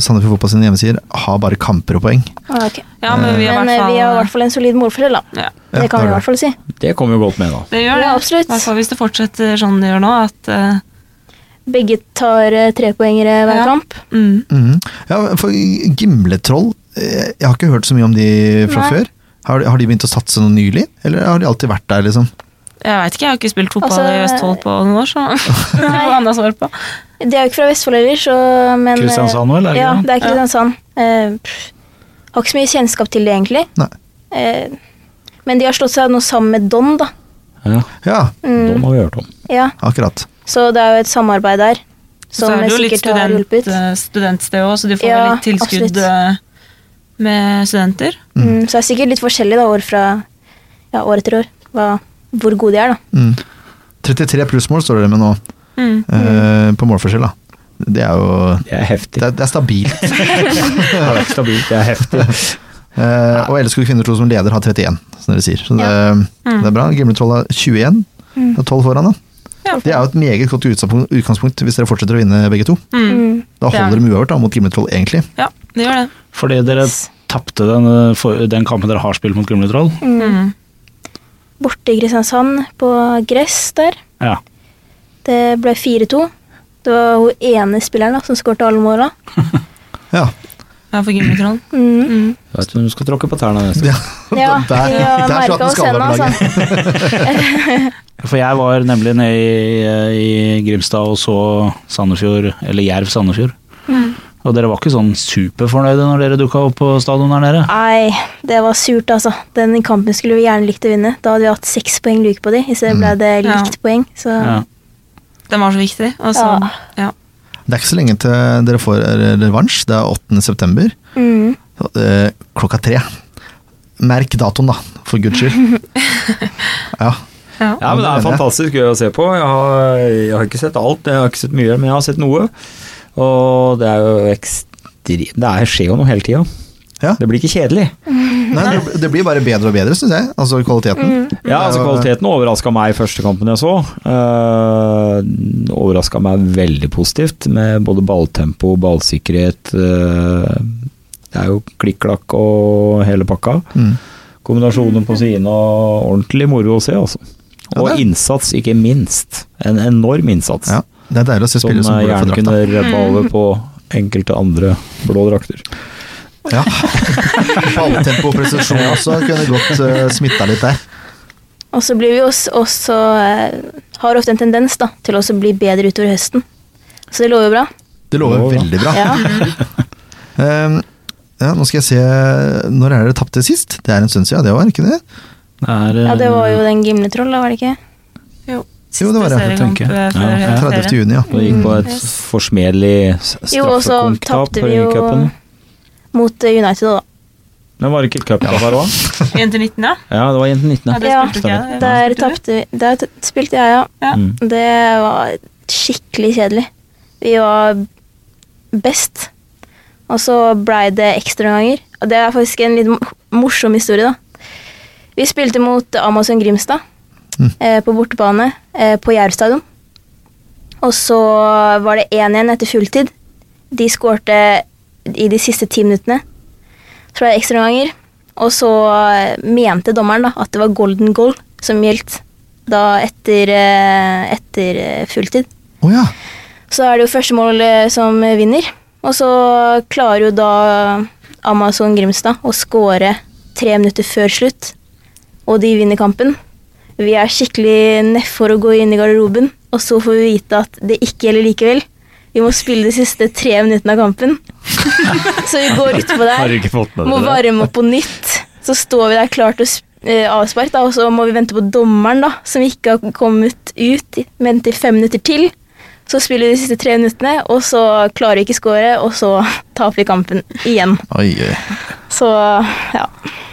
Sandefjord Fotball sine hjemmesider har bare kamper og poeng. Ah, ok. ja, men vi har i Men eh, vi har i hvert hvert fall en solid målforskjell, da. fall ja. Ja, det kan det vi er i hvert fall si. Det kommer jo godt med, da. Det gjør det. Ja, absolutt. I hvert fall hvis det fortsetter sånn det gjør nå. At, eh, Begge tar eh, trepoengere hver Ja. kamp. mm. Mhm. Ja, for Gimletroll eh, Jeg har ikke hørt så mye om de fra Nei. før. Har, de- har de begynt å satse noe nylig, eller har de alltid vært der, liksom? Jeg veit ikke, jeg har ikke spilt fotball Altså, i Østfold på noen år, så det er noe annet svar på. De er jo ikke fra Vestfold heller, så men, eh, Kristiansand nå, eller er det Ja, ikke det? det er Kristiansand. Eh, pff, har ikke så mye kjennskap til det, egentlig. Nei. Eh, men de har slått seg nå sammen med Don, da. Ja, Ja, Mm, Dem har vi hørt om. ja. akkurat. Så det er jo et samarbeid der Så som er det jo litt sikkert har student, hjulpet. eh, studentsted òg, så de får Ja, vel litt tilskudd eh, absolutt. med studenter. Mm, så det er sikkert litt forskjellig da, år, fra, ja, år etter år hva, hvor gode de er. da. Mm. 33 plussmål står det med nå, Mm. eh, på målforskjell. da. Det er jo Det er heftig. Det, er- det er stabilt. Det er ikke stabilt, det er heftig. Eh, og LSK Kvinner 2 som leder har 31, som dere sier. Så det, eh, Mm. det er bra. Gimletroll har 21. Det er 12 foran, da. Ja. Det er jo et meget godt utgangspunkt, utgangspunkt hvis dere fortsetter å vinne begge to. Mm. Mm. Da Det er holder de uavgjort da, mot Gimletroll, egentlig. Ja, det gjør det. Fordi dere tapte den, eh, for- den kampen dere har spilt mot Gimletroll. Mm. Borte i Kristiansand, på gress der. Ja. Det ble 4-2. Det var hun ene spilleren da, som skåret alle måla. Ja, Ja, for Gimletrollen. Mm. Mm. Vet du, du skal tråkke på tærne neste ja. Ja, der, vi der har slapp merka den oss henne, skalleberglaget. altså. For jeg var nemlig nede i, i Grimstad og så Sandefjord, eller Jerv Sandefjord. Mm. Og dere var ikke sånn superfornøyde når dere dukka opp på stadion der nede? Nei, det var surt, altså. Den kampen skulle vi gjerne likt å vinne. Da hadde vi hatt seks poeng luke på de, i stedet ble Mm. det Ja. likt poeng. Så Ja. Den var så viktig. Og så, Ja. ja. Det er ikke så lenge til dere får eh, revansj. Det er 8. september. Mm. Eh, klokka tre. Merk datoen, da, for guds skyld. Ja. ja. Ja, men Det er fantastisk gøy å se på. Jeg har, jeg har ikke sett alt, jeg har ikke sett mye, men jeg har sett noe. Og det er jo ekstremt Det er- skjer jo noe hele tida. Ja. Det blir ikke kjedelig. Nei, det- det blir bare bedre og bedre, syns jeg. Altså kvaliteten. Mm. Ja, altså Kvaliteten overraska meg første kampen jeg så. Uh, overraska meg veldig positivt, med både balltempo, ballsikkerhet eh, Det er jo klikk-klakk og hele pakka. Mm. Kombinasjoner på sidene og ordentlig moro å se, altså. Ja, Og det er- innsats, ikke minst. En enorm innsats. Ja. Det er deilig å se som Sånn, spillere som går eh, for gjerne drakta. kunne redde Mm. over på enkelte andre blå drakter. Ja. Balltempo og presisjon også kunne godt uh, smitta litt der. Og så blir vi også, også eh, har ofte en tendens da, til å også bli bedre utover høsten. Så det lover jo bra. Det lover Lover bra. veldig bra. Ja. Eh, ja, nå skal jeg se Når er det dere tapte sist? Det er en stund siden, det var ikke det? ja, det var jo den gimletroll, da, var det ikke? Jo, Jo, det var det, Siste seriekamp, tenker jeg. eh, Ja, før ja. 30. serien. juni, ja. Det gikk på et Yes. forsmedelig s- Jo, og så straffekonktap i tapte vi jo cupen. mot eh, United da. Men var det ikke et cup der òg? 1 til 19, ja. eh, Ja, det var jente 19. ja Ja. det Ja, spilte ikke jeg. Der, Spilte du? tapte vi, der t- spilte jeg, ja. Ja. Mm. Det var skikkelig kjedelig. Vi var best. Og så blei det ekstraomganger. Og det er faktisk en litt mo- morsom historie, da. Vi spilte mot Amazon Grimstad Mm. eh, på bortebane eh, på Jerv stadion. Og så var det 1-1 etter fulltid. De skårte i de siste ti minuttene. Så var det ekstraomganger. Og så eh, mente dommeren da, at det var golden goal som gjaldt da etter, eh, etter eh, fulltid. Å ja. Så er det jo første mål eh, som vinner. Og så klarer jo da Amazon Grimstad å skåre tre minutter før slutt. Og de vinner kampen. Vi er skikkelig nedfor å gå inn i garderoben, og så får vi vite at det ikke gjelder likevel. Vi må spille de siste tre minuttene av kampen. så vi går utpå der. ikke fått Må varme opp på nytt. Så står vi der klart til å sp- eh, avspark, da, og så må vi vente på dommeren, da, som ikke har kommet ut, i- vente i fem minutter til. Så spiller vi de siste tre minuttene, og så klarer vi ikke score, og så taper vi kampen igjen. Oi, oi. Så ja.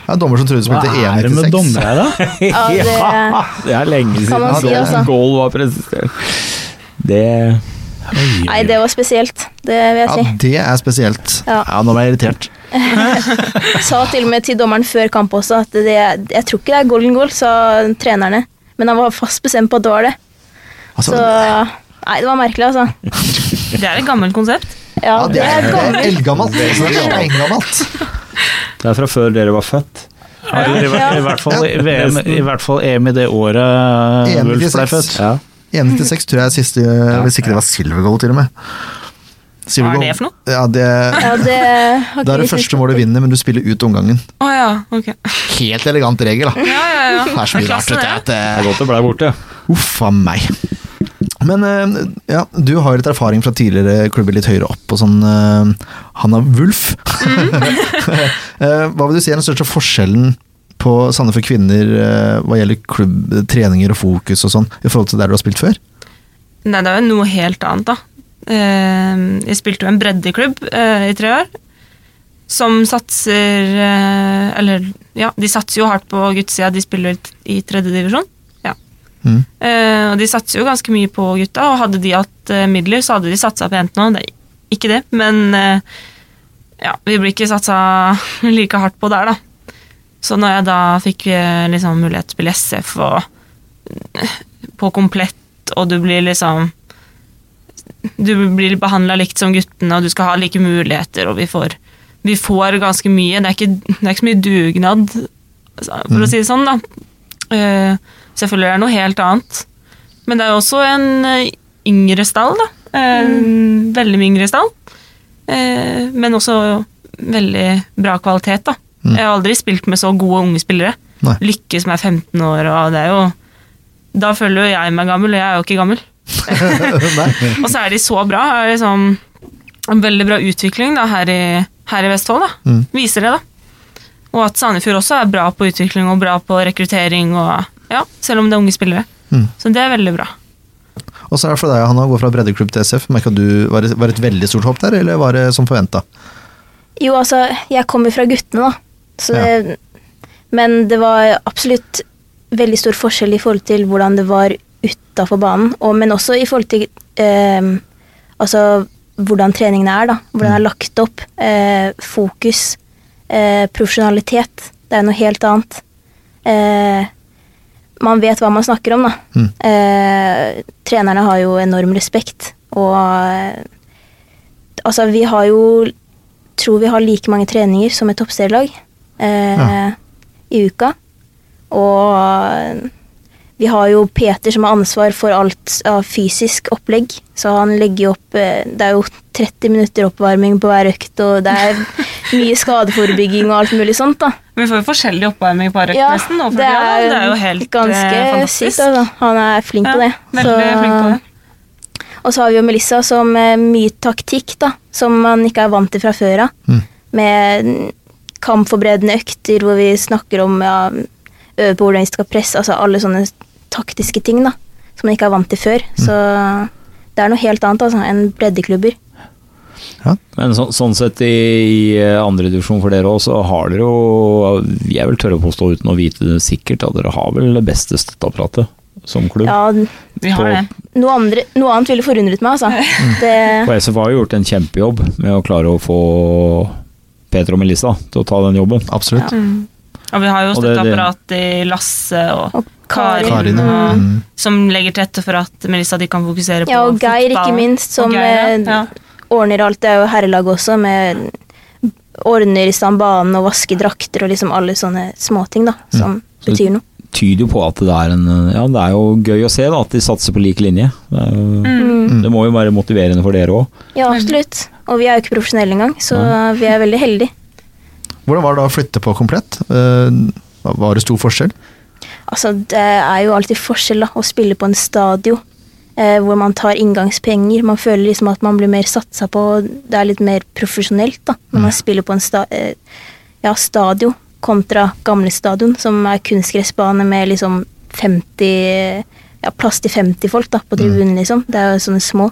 Det er dommer som trodde du Hva spilte er det med 1,96. dommere, da? ja det, Det er lenge Kan man siden si, Goal- altså. goal var presentert. Det nei, det var spesielt. Det vil jeg Ja, si. det er spesielt. Ja. nå ble jeg irritert. Sa til og med til dommeren før kamp også at det, jeg tror ikke det er golden goal, sa trenerne. Men han var fast bestemt på at det var det. Altså, Så nei, det var merkelig, altså. Det er et gammelt konsept. Ja, ja, det er det er gammelt. eldgammelt. Så det er steingammelt. Det er fra før dere var født. Ja, eller i, hvert- I hvert fall i VM, i hvert fall EM i det året eh, EM i Wulf ble 96. født. 1,96 tror jeg er siste Hvis ikke det var silver goal, til og med. Silver Hva er goal- det for noe? Ja, det, Ja, det har det ikke er vi det sett. første målet vinner, men du spiller ut omgangen. Å ja, ok. Helt elegant regel, da. Ja, ja, ja. Det er så mye rart, Klasse, vet du. At Mm. det. det, Det er godt det ble borte. Uff a meg. Men eh, ja, du har jo litt erfaring fra tidligere klubber litt høyere opp og sånn. eh, Hanna Wulf. Mm. Eh, hva vil du si er den største forskjellen på Sande for kvinner eh, hva gjelder klubb, treninger og fokus og sånn, i forhold til der du har spilt før? Nei, det er jo noe helt annet, da. Eh, Jeg spilte jo en breddeklubb eh, i tre år, som satser eh, Eller, ja, de satser jo hardt på guttesida, de spiller i tredje divisjon. Ja. Mm. Eh, Og de satser jo ganske mye på gutta, og hadde de hatt eh, midler, så hadde de satsa på jentene òg. Ikke det, men eh, ja, vi blir ikke satsa like hardt på der, da. Så når jeg da fikk eh, liksom mulighet til å spille SF og eh, på komplett, og du blir liksom Du blir behandla likt som guttene, og du skal ha like muligheter, og vi får, vi får ganske mye. Det er, ikke, det er ikke så mye dugnad, altså, for å si det sånn, da. Eh, selvfølgelig er det noe helt annet. Men det er jo også en eh, yngre stall, da. En veldig mye yngre stall. Eh, men også veldig bra kvalitet, da. Mm. Jeg har aldri spilt med så gode unge spillere. Nei. Lykke som er 15 år, og det er jo Da føler jo jeg meg gammel, og jeg er jo ikke gammel. Nei. Og så er de så bra. Er liksom en veldig bra utvikling da, her, i, her i Vestfold. Da. Mm. Viser det, da. Og at Sandefjord også er bra på utvikling og bra på rekruttering, og, ja, selv om det er unge spillere. Mm. Så det er veldig bra. Og så er det for deg, Hanna, å gå fra breddeklubb til SF. Merka du var det, var det et veldig stort hopp der, eller var det som forventa? Jo, altså, jeg kommer fra guttene, da. Så det, Men det var absolutt veldig stor forskjell i forhold til hvordan det var utafor banen. Og, men også i forhold til eh, altså, hvordan treningene er. da. Hvordan det er lagt opp. Eh, fokus. Eh, profesjonalitet. Det er noe helt annet. Eh, man vet hva man snakker om, da. Mm. Eh, trenerne har jo enorm respekt, og eh, altså, vi har jo tror vi har like mange treninger som et toppserielag eh, Ja. i uka. Og eh, vi har jo Peter som har ansvar for alt av fysisk opplegg. Så han legger jo opp eh, Det er jo 30 minutter oppvarming på hver økt, og det er mye skadeforebygging og alt mulig sånt, da. Vi får jo forskjellig oppvarming på Arøk nesten. og for det det, er, er, det er jo helt eh, ganske fantastisk. sykt. Altså. Han er flink på det. Ja, veldig Så- flink på det. Og så har vi jo Melissa som eh, mye taktikk, da, som man ikke er vant til fra før av. Mm. Med mm, kampforberedende økter hvor vi snakker om ja, øve på hvordan vi skal presse, altså alle sånne taktiske ting da, som man ikke er vant til før. Så det er noe helt annet altså, enn breddeklubber. Men så, sånn sett i, i andredivisjon for dere òg, så har dere jo Jeg vil tørre å påstå uten å vite det sikkert, at dere har vel det beste støtteapparatet som klubb. Ja, Vi har På- det. noe, andre, noe annet ville forundret meg, altså. Det, Og SF har jo gjort en kjempejobb med å klare å få Peter og Melissa til å ta den jobben. Absolutt. Mm. Og vi har jo Og det- det- støtteapparat i Lasse og, Og Karin, Karin. Karin, ja. og, Mm. som legger til rette for at Melissa de kan fokusere på ja, og Geir, fotball. ikke minst, som Og Geir, ja. eh, ordner alt. Det er jo herrelag også, med ordner i stand banen og vasker drakter og liksom alle sånne småting da, som Så- betyr noe. Tyder jo på at det er en Ja, det er jo gøy å se da, at de satser på lik linje. Det, er jo, Mm. det må jo være motiverende for dere òg. Ja, absolutt. Og vi er jo ikke profesjonelle engang, så vi er veldig heldige. Hvordan var det da å flytte på komplett? Eh, var det stor forskjell? Altså, det er jo alltid forskjell da, å spille på en stadion eh, hvor man tar inngangspenger. Man føler liksom at man blir mer satsa på, og det er litt mer profesjonelt da, når man spiller på en sta eh, ja, stadion kontra gamle stadion, som er kunstgressbane med liksom 50 ja, plass til 50 folk da, på tribunen, liksom. Det er jo sånne små.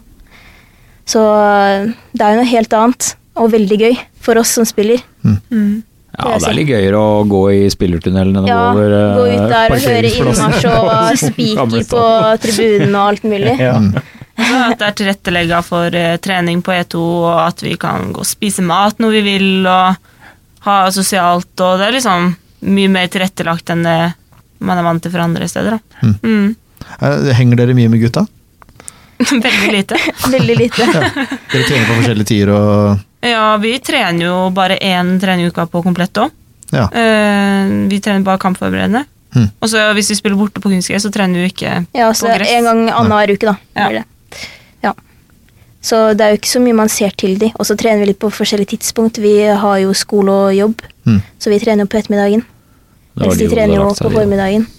Så eh, det er jo noe helt annet, og veldig gøy for oss som spiller. Ja, det er litt gøyere å gå i spillertunnelen enn å Ja, gå over eh, gå ut der og høre parkeringsplassen innmarsj på- og spiker gamle på stadion. tribunen og alt mulig. Mm. Og så At det er tilrettelegga for eh, trening på E2, og at vi kan gå og spise mat når vi vil, og ha sosialt, og det er liksom mye mer tilrettelagt enn det man er vant til fra andre steder. Da. Mm. Eh, henger dere mye med gutta? Veldig lite. Veldig lite. Dere trener på forskjellige tider og Ja, vi trener jo bare én trening i uka på komplett òg. Ja. vi trener bare kampforberedende. Mm. Og så hvis vi spiller borte på kunstgress, så trener vi ikke Ja, så på gress. en gang annenhver uke, da. Ja. blir det. Ja. Så det er jo ikke så mye man ser til de. Og så trener vi litt på forskjellige tidspunkt. Vi har jo skole og jobb, Mm. så vi trener jo på ettermiddagen. Da har Mens de jo trener jo lagt seg i på jobb. formiddagen.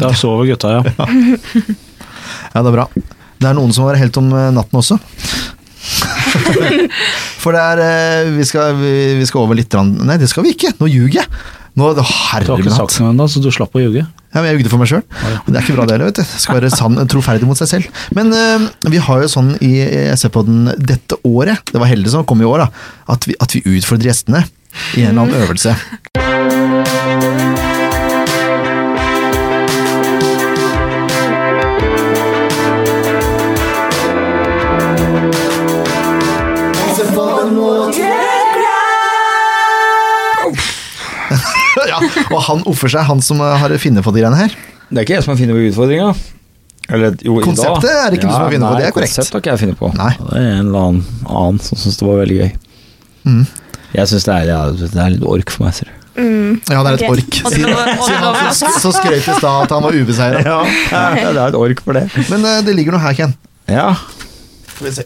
Da sover gutta, ja. Ja, det er bra. Det er noen som var helt om eh, natten også. For det er eh, Vi skal, vi, vi skal over litt grann- Nei, det skal vi ikke! Nå ljuger jeg! Nå, Du herre har min ikke hatt. sagt noe ennå, så du slapp å ljuge. Ja, men jeg jugde for meg sjøl. Det er ikke bra, det heller. vet du. Skal være sann, troferdig mot seg selv. Men eh, vi har jo sånn i SV-podden dette året, det var heldig som kom i år, da, at vi, at vi utfordrer gjestene i en eller annen øvelse. ja, og han offer seg, han som har funnet på de greiene her. Det er ikke jeg som har funnet på utfordringa. Eller, jo, i dag. Konseptet er det ikke du som har funnet på, nei, det er korrekt. Konsept har ikke jeg funnet på. Nei. Det er en eller annen, annen som syns det var veldig gøy. Mm. Jeg syns det, er- ja, det er litt ork for meg, ser du. Mm. Ja, det er et Ok. ork. Og det Siden, var- og det siden var- han så, så skrøt i stad at han var ubeseira. Ja, ja, det er et ork for det. Men eh, det ligger noe her, Ken. Ja, Skal vi se.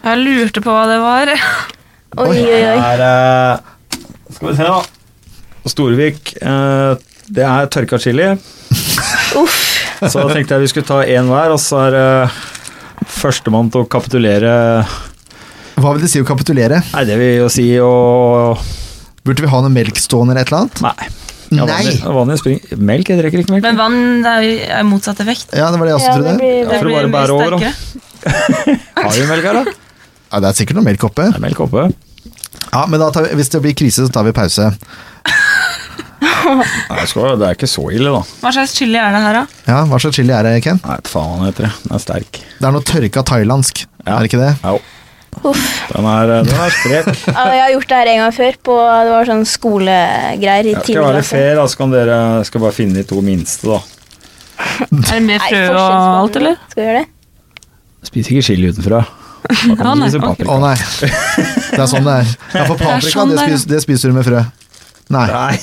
Jeg lurte på hva det var. Oi, oi, oi. er eh, Skal vi se, da. Storvik. eh, det er tørka chili. Uff. Så da tenkte jeg vi skulle ta én hver, og så er uh, førstemann til å kapitulere Hva vil det si å kapitulere? Nei, det vil jo si å Burde vi ha noe melk stående eller et eller annet? Nei. Ja, Nei! vanlig, vanlig spring. Melk? Jeg drikker ikke melk. Men vann er jo er motsatt effekt. Ja, det var det jeg også Ja, det trodde. blir Ja, for å bare bære over, da. Har vi melk her, da? Ja, det er sikkert noe melk oppe. Det er melk oppe. Ja, men da tar vi, hvis det blir krise, så tar vi pause. Nei, skal, det er ikke så ille, da. Hva slags chili er det her, da? Ja, Hva slags chili er det, Ken? Nei, vet faen hva den heter. det. Den er sterk. Det er noe tørka thailandsk, Ja. er det ikke det? Jo, Uff. den er, eh, den er sprek. Ja, jeg har gjort det her en gang før. På, det var sånn skolegreier i Jeg skal tiende være klasse. fair, da, så kan dere jeg skal bare finne de to minste, da. Er det mer Nei, frø og forskjellsbehandling. alt, eller? Skal vi gjøre det? Spiser ikke chili utenfra. Da Ja, kan du nei, spise ok. Å paprika. nei. Det er sånn det er. Ja, for er paprika, sånn det det er, ja. spiser, det spiser du med frø. Nei. Nei.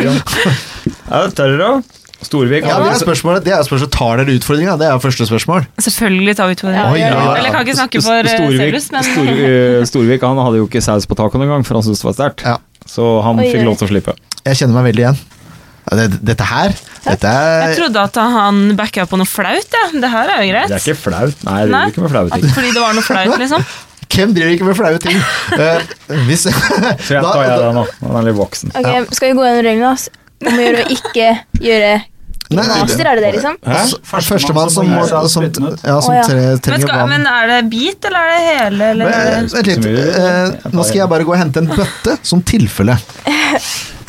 Er det tørre, da? Storvik Ja, det er hadde spørsmålet. Det er spørsmålet tar dere utfordringa? Det er jo første spørsmål. Selvfølgelig tar vi to. Ja, Oi, ja, ja. Eller jeg kan ikke snakke for eh, Storvik, Celsius, men Stor, eh, Storvik han hadde jo ikke saus på tacoen engang, for han syntes det var sterkt. Ja. Så han Oi, fikk oi. lov til å slippe. Jeg kjenner meg veldig igjen. Ja, det, dette her Dette jeg er trodde at han backa på noe flaut, jeg. Ja. Det her er jo greit. Det er ikke flaut. Nei, det Nei. er ikke med flaue At ting. fordi det var noe flaut, liksom. Hvem driver ikke med flaue ting? Eh, hvis Så jeg Da- tar jeg den nå. Den er litt voksen. Ok, Skal vi gå gjennom reglene altså, om å gjøre å ikke gjøre Nei, master? Er det det, liksom? Hæ? altså, Førstemann som, må- som, ja, som Å, ja. tre- Men, trenger skal, vann. men er det bit, eller er det hele? Eller er Men, det, Vent litt. eh, Nå skal jeg bare gå og hente en bøtte, som tilfelle.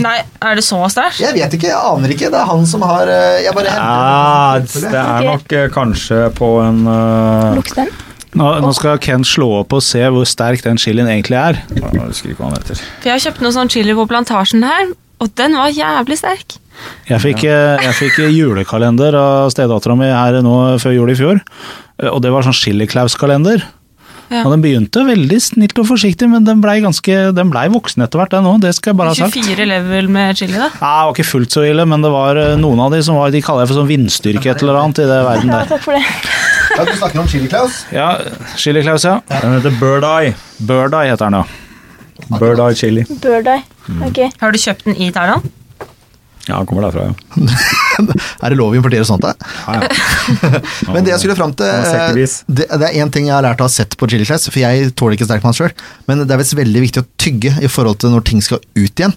nei, er det så sterkt? Jeg vet ikke, jeg aner ikke. Det er han som har eh, Jeg bare Ja, henter det er nok eh, kanskje på en eh, Lukte den? Nå, nå skal Ken slå opp og se hvor sterk den chilien egentlig er. Jeg husker ikke hva han heter. For jeg har kjøpt noe sånn chili på plantasjen her, og den var jævlig sterk. Jeg fikk, eh, jeg fikk julekalender av stedattera mi her nå før jul i fjor, eh, og det var sånn Chiliklaus-kalender. Ja. Og Den begynte veldig snilt og forsiktig, men den blei ble voksen etter hvert, den òg. Det skal jeg bare ha sagt. 24 level med chili, da. Nei, det var ikke fullt så ille, men det var eh, noen av de som var De kaller jeg for sånn vindstyrke et eller annet i det verden Ja, der. takk for det. Ja, du snakker om Chili Claus? Ja, Chili Claus, ja. Den heter Bird Eye. Bird Eye heter den, ja. Bird Eye Chili. Bird eye. Ok. Har du kjøpt den i Thailand? Ja, han kommer derfra, ja. Er det lov å importere sånt, da? Men det jeg skulle fram til Han har eh, sekkevis. Det, det er én ting jeg har lært å ha sett på Chili Class, for jeg tåler ikke sterkmann sjøl, men det er visst veldig viktig å tygge i forhold til når ting skal ut igjen.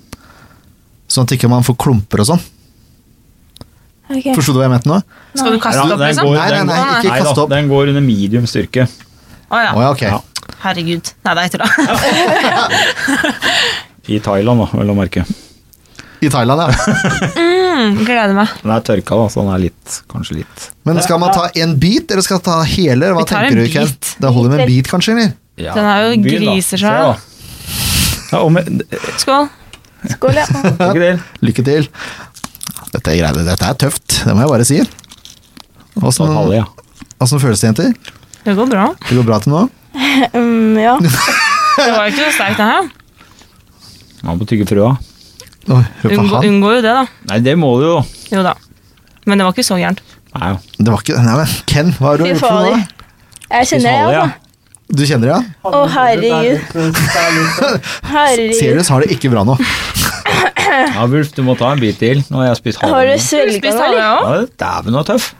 Sånn at ikke man får klumper og sånn. ok. Forsto du hva jeg mente nå? Skal du Ja, kaste opp, den liksom? går, Nei, nei, den, nei, ikke nei da, kast opp. Den går under medium styrke. Å ja. Å ja, ok. Ja. Herregud. Nei, det er ikke det. I Thailand, da, vel å merke. I Thailand, ja. Mm, gleder meg. Den er tørka, da, så den er litt, kanskje litt Men skal man ta en bit, eller skal man ta hele? Hva Vi tar tenker en du, Ken? bit. Det holder med en bit, kanskje? eller? ja, Den er jo byen, da. Se, griser seg. da. ja og med, Skål. Skål, ja. Lykke til. Lykke til. Dette er, greiene, dette er tøft, det må jeg bare si. Sånn Åssen halve, ja. åssen føles det, jenter? Det går bra. Det går bra til nå? Mm, ja. Det var ikke så sterkt, det her. Man må tygge frøa. Oi, hør på Unngå, han. unngår jo det, da. Nei, det må du jo. Jo da. Men det var ikke så gærent. Nei, jo. Det var ikke, nei, men Ken, hva har du Fy gjort for noe? fader. Jeg kjenner Spis det, halve, ja. ja. Du kjenner det, ja? Å, herregud. Herregud. Seriøst har det ikke bra nå. Ja, Wulf, du må ta en bit til. Nå har jeg spist halve. Har du min. Har du svelget spist den, halve, eller? jeg òg? Ja, Dæven, du er tøff.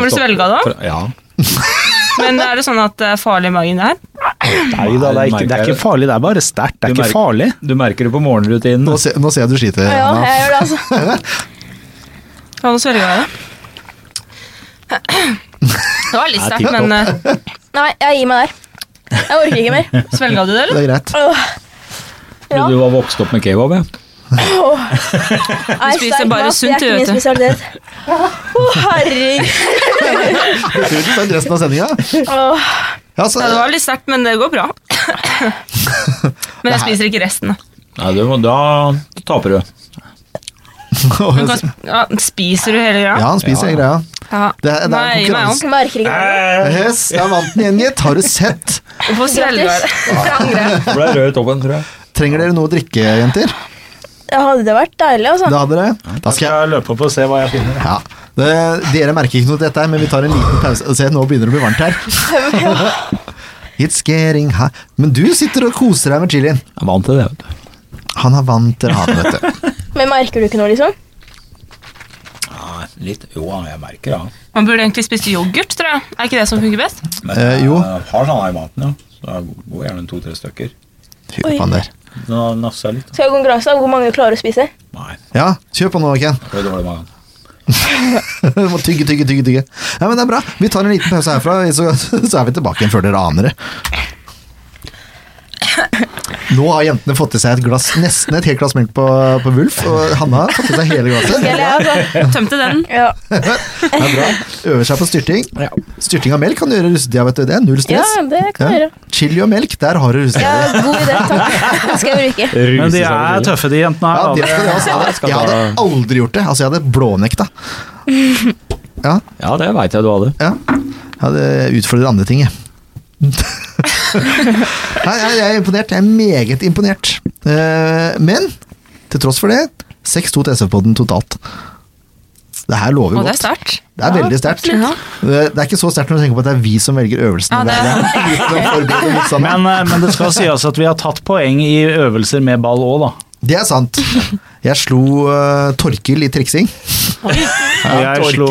Har du svelget det også? Ja. Men er det sånn at det er farlig i magen, det her? nei da, det er, ikke, det er ikke farlig, det er bare sterkt. Det er Du merker- ikke farlig. Du merker det på morgenrutinen. Nå, se, nå ser jeg du sliter. Ja, Anna. jeg gjør det, altså. Kan du svelge det? Det var litt Nei, sterkt, tipp men uh, Nei, jeg gir meg der. Jeg orker ikke mer. eh, svelga du det, eller? Det er greit. Åh. Trodde Ja. Du var vokst opp med kebab, ja. Nei, spiser sterk bare mat, det sunt, er du, ikke min vet du. spesialitet. Å, herregud. Utenfor resten av sendinga. Åh. Ja, så, Ja, det var litt sterkt, men det går bra. Men jeg spiser ikke resten. da. Nei, du må, da taper du. Du kan, sp- ja, spiser du hele ja, greia? han spiser den greia. Ja. Det er- det er Nei, meg konkurranse. også. Merker ikke noe. Yes, der vant den igjen, gitt. Har du sett? Hvorfor svelger jeg det? Du ble rød i toppen, tror jeg. Trenger dere noe å drikke, jenter? Ja, hadde det vært deilig, altså. Det hadde dere? Da skal jeg løpe opp og se hva jeg finner. ja. det, Dere merker ikke noe til dette, her, men vi tar en liten pause. Se, nå begynner det å bli varmt her. It's getting hot. Men du sitter og koser deg med chilien. Jeg er vant til det, vet du. Han er vant til han, vet du. Men merker du ikke noe, liksom? Ja, litt. Jo, jeg merker det. Ja. Man burde egentlig spist yoghurt, tror jeg. Er ikke det som funker best? Men Eh, jo. jeg har sånn her i maten, ja. Så jeg går gjerne en to-tre stykker. Fy faen der. Nå nasser jeg litt. Skal vi ha konkurranse? da? Hvor mange klarer å spise? Nei, Ja, kjør på nå, Ken. det var dårlig magen. Du må tygge, tygge, tygge. tygge. Ja, men det er bra. Vi tar en liten pause herfra, så, så er vi tilbake igjen før dere aner det. Nå har jentene fått i seg et glass, nesten et helt glass melk på, på Wulf, og Hanna har fått i seg hele glasset. Tømte den. Ja. Det er bra. Øver seg på styrting. Styrting av melk kan du gjøre i russetida, vet du. Det er null ja, stress. det kan jeg gjøre. Chili og melk, der har du Ja, russetida. god idé, takk. Det skal jeg bruke. Men de er tøffe, de jentene Ja, her. det da. skal du ha. altså. Jeg hadde- skal Jeg ta- hadde aldri gjort det. Altså, jeg hadde blånekta. Ja, Ja, det veit jeg du hadde. Ja. ja det utfordrer andre ting, jeg. Nei, jeg, jeg er imponert. Jeg er meget imponert. Eh, men til tross for det, 6-2 til SF-podden totalt. Det her lover Og jo det er godt. sterkt. Det er veldig sterkt. absolutt. Ja. Det det er ikke så sterkt når du tenker på at det er vi som velger øvelsene. Ja, det er- Det er litt sånn forberedt og litt sånn. Men, eh, men det skal sies at vi har tatt poeng i øvelser med ball òg, da. Det er sant. Jeg slo eh, Torkil i triksing. Jeg slo,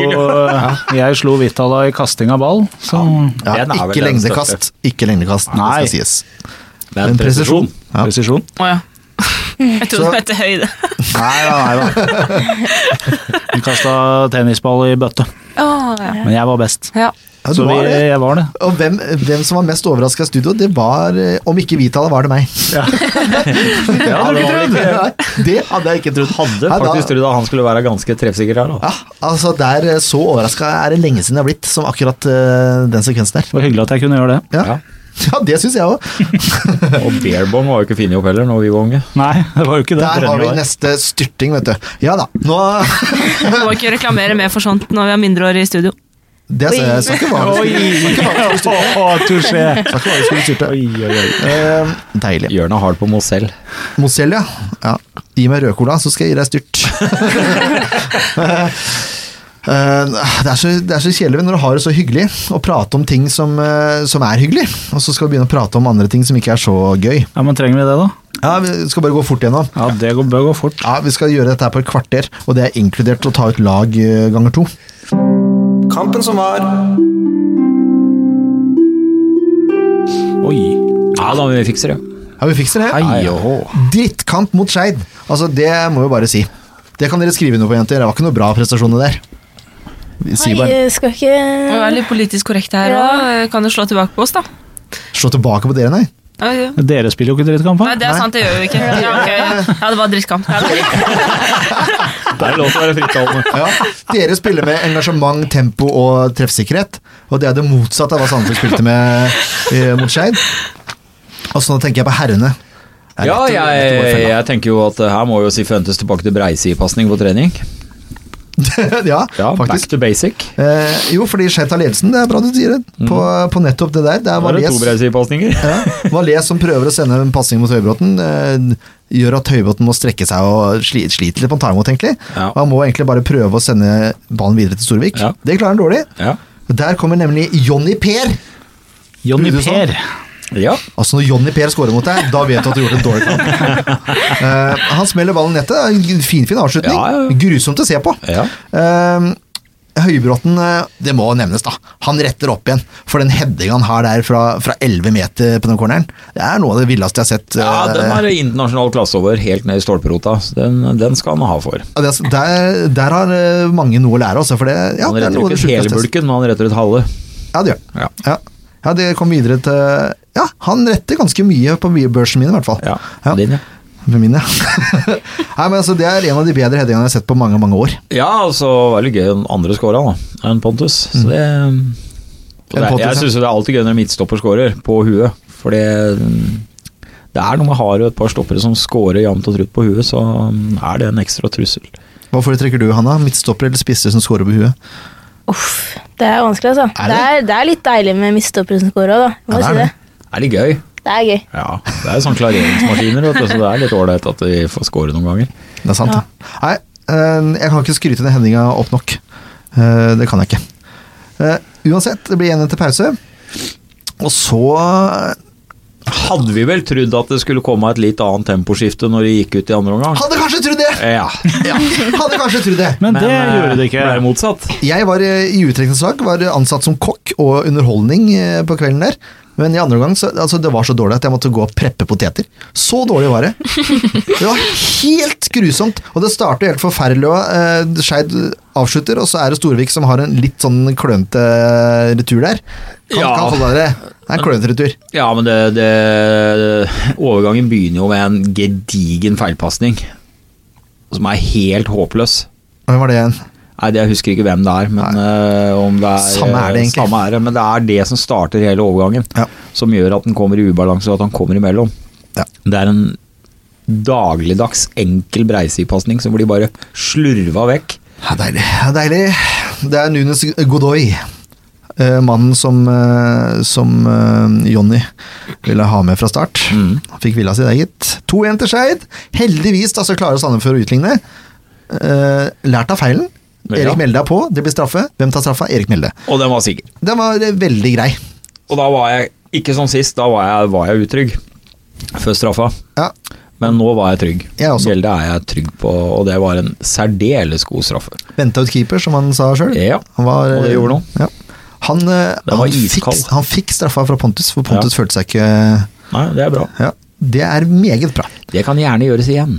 jeg slo Vitala i kasting av ball. Så Ja, Den er vel ikke den lengdekast. Ikke lengdekast, Nei. det skal sies. Det Men presisjon. Ja. presisjon. Å ja. Jeg trodde Så- det het høyde. Nei, nei, nei. Vi kasta tennisball i bøtte, Å, ja. men jeg var best. Ja. Ja, du Så vi, var det. jeg var det. Og hvem, hvem som var mest overraska i studio, det var eh, Om ikke vi taler, var det meg. Ja, Hadde det ikke var trodd. ikke- Nei, det hadde jeg ikke trodd. Hadde Nei, da- faktisk trodd at han skulle være ganske treffsikker her. da Ja, altså der eh, Så overraska er det lenge siden jeg har blitt, som akkurat eh, den sekvensen der. Det var hyggelig at jeg kunne gjøre det. Ja, ja det syns jeg òg. Og beerbong var jo ikke funnet opp heller når vi var unge. Nei, det var jo ikke det. Der har vi Brenner var. neste styrting, vet du. Ja da. Nå, Må ikke reklamere mer for sånt når vi har mindreårige i studio. det skal jeg skal ikke være med skulle- Oi! Touché. skal ikke være med skulle styrte. Oi, oi, oi. Eh, Deilig. Jørn er hard på Mozell. Mozell, ja. ja. Gi meg rødcola, så skal jeg gi deg styrt. Eh, det, er så, det er så kjedelig når du har det så hyggelig, å prate om ting som, eh, som er hyggelig, og så skal du begynne å prate om andre ting som ikke er så gøy. Ja, men trenger vi det, da? Ja, Vi skal bare gå fort gjennom. Ja, det går- bør gå fort. Ja, Vi skal gjøre dette her på et kvarter, og det er inkludert å ta ut lag eh, ganger to. Kampen som var. Oi. Ja da, men vi fikser det. Ja, vi fikser det. Hei og hå. Drittkamp mot Skeid. Altså, det må vi bare si. Det kan dere skrive under på, jenter. Det var ikke noe bra prestasjoner der. Vi sier Nei, bare jeg skal Må være ikke litt politisk korrekt her Ja. òg. Kan jo slå tilbake på oss, da. Slå tilbake på dere, nei. Ja, ja. Dere spiller jo ikke drittkamp, da. Nei, det er sant, det gjør vi ikke. Ja, ok. ja det var drittkamp. Ja, det- Det er lov til å være frittalende. Ja, dere spiller med engasjement, tempo og treffsikkerhet. Og det er det motsatte av hva Sandefjord spilte med eh, mot Skeid. Og så nå tenker jeg på herrene. Det er Ja, lett å- lett å gå i jeg, fella. jeg tenker jo at eh, her må jo Sifuentes tilbake til breisidepasning på trening. ja, Ja, back faktisk. to basic. Eh, jo, fordi Skeid tar ledelsen, det er bra du sier det. På, på nettopp det der. Det er Da er det to Valais, breisidepasninger. ja, Valais som prøver å sende en pasning mot Høybråten. Eh, gjør at Høybråten må strekke seg og sli, sliter litt på å ta imot, egentlig. Ja. Og han må egentlig bare prøve å sende ballen videre til Storvik. Ja. Det klarer han dårlig. Ja. Der kommer nemlig Jonny Per. Jonny Brudesson. Per. ja. Altså Når Jonny Per scorer mot deg, da vet du at du har gjort en dårlig kamp. Eh, han smeller ballen i nettet. En Finfin avslutning. Ja, ja, ja. Grusomt å se på. Ja. Eh, Høybråten, eh, det må nevnes, da. Han retter opp igjen. For den headinga han har der fra, fra 11 meter på den corneren, det er noe av det villeste jeg har sett. ja, eh, den er internasjonal klasse over, helt ned i stolperota. Så Den, den skal han ha for. ja, det er- der, der har eh, mange noe å lære, altså. For det, ja, Han det er retter noe av det jo ikke hele sjukeste. jeg har sett. bulken, men han retter ut halve. Ja, det gjør han. Ja. ja. ja, det kom videre til Ja, han retter ganske mye på børsen min, i hvert fall. Ja. Din, ja. Med min, ja. Nei, men altså, det er en av de bedre headingene jeg har sett på mange mange år. ja, altså veldig gøy den andre scora da, enn Pontus. Så det, mm. og det Mm. Pontus, ja. jeg syns det er alltid gøy når en midtstopper scorer, på huet. For det, mm, det er noe med har jo et par stoppere som scorer jevnt og trutt på huet, så mm, er det en ekstra trussel. Hva foretrekker du, Hanna? Midtstopper eller spisser som scorer på huet? Uff, det er vanskelig, altså. Er Det er, det er litt deilig med mistoppere som scorer òg, da. Ja, Jeg Må det er si det. Det er litt gøy. Det er gøy. Ja, det er sånn klareringsmaskiner, vet du, så det er litt ålreit at de får score noen ganger. Det er sant, Ja. det. Nei, eh, jeg kan ikke skryte den headinga opp nok. Eh, Det kan jeg ikke. Eh, Uansett, det blir 1-1 til pause. Og så Hadde vi vel trodd at det skulle komme et litt annet temposkifte når de gikk ut i andre omgang? Hadde kanskje trodd det! Ja. Ja, hadde kanskje trodd det. Men det eh, gjorde det ikke. Ble motsatt. Jeg var eh, i utdrikningslag, var ansatt som kokk og underholdning eh, på kvelden der. Men i andre omgang, så, altså, det var så dårlig at jeg måtte gå og preppe poteter. Så dårlig var det. Det var helt grusomt. Og det starter helt forferdelig. og, Eh, Skeid avslutter, og så er det Storvik som har en litt sånn klønete retur der. Kan, Ja. kan holde dere. Det er en klønete retur. Ja, men det, det Overgangen begynner jo med en gedigen feilpasning. Som er helt håpløs. Hvem var det igjen? Nei, det, Jeg husker ikke hvem det er, men øh, om det er eh, Samme er det egentlig. Samme er det, men det er det som starter hele overgangen. Ja. Som gjør at den kommer i ubalanse, og at han kommer imellom. Ja. Det er en dagligdags enkel breisidepasning som blir bare slurva vekk. Ja, deilig. Ja, deilig. Det er Nunes Godoy. eh, mannen som, eh, som eh, Jonny ville ha med fra start. Mm. Han fikk villa si der, gitt. 2-1 til Skeid. Heldigvis da, så klarer Sandefjord å utligne. Eh, lært av feilen. Ja. Erik Melde er på, det blir straffe. Hvem tar straffa? Erik Melde. Og den var sikker. Den var eh, veldig grei. Og da var jeg ikke som sist, da var jeg, var jeg utrygg før straffa. Ja, Men nå var jeg trygg. Jeg også. Gjelde er jeg trygg på, og det var en særdeles god straffe. Venta ut keeper, som han sa sjøl. Ja, Han var, og det eh, gjorde han. Ja. Han, eh, Den var han, fikk, iskald. han fikk straffa fra Pontus, for Pontus følte seg ikke Nei, det er bra. Ja, det er meget bra. Det kan gjerne gjøres igjen.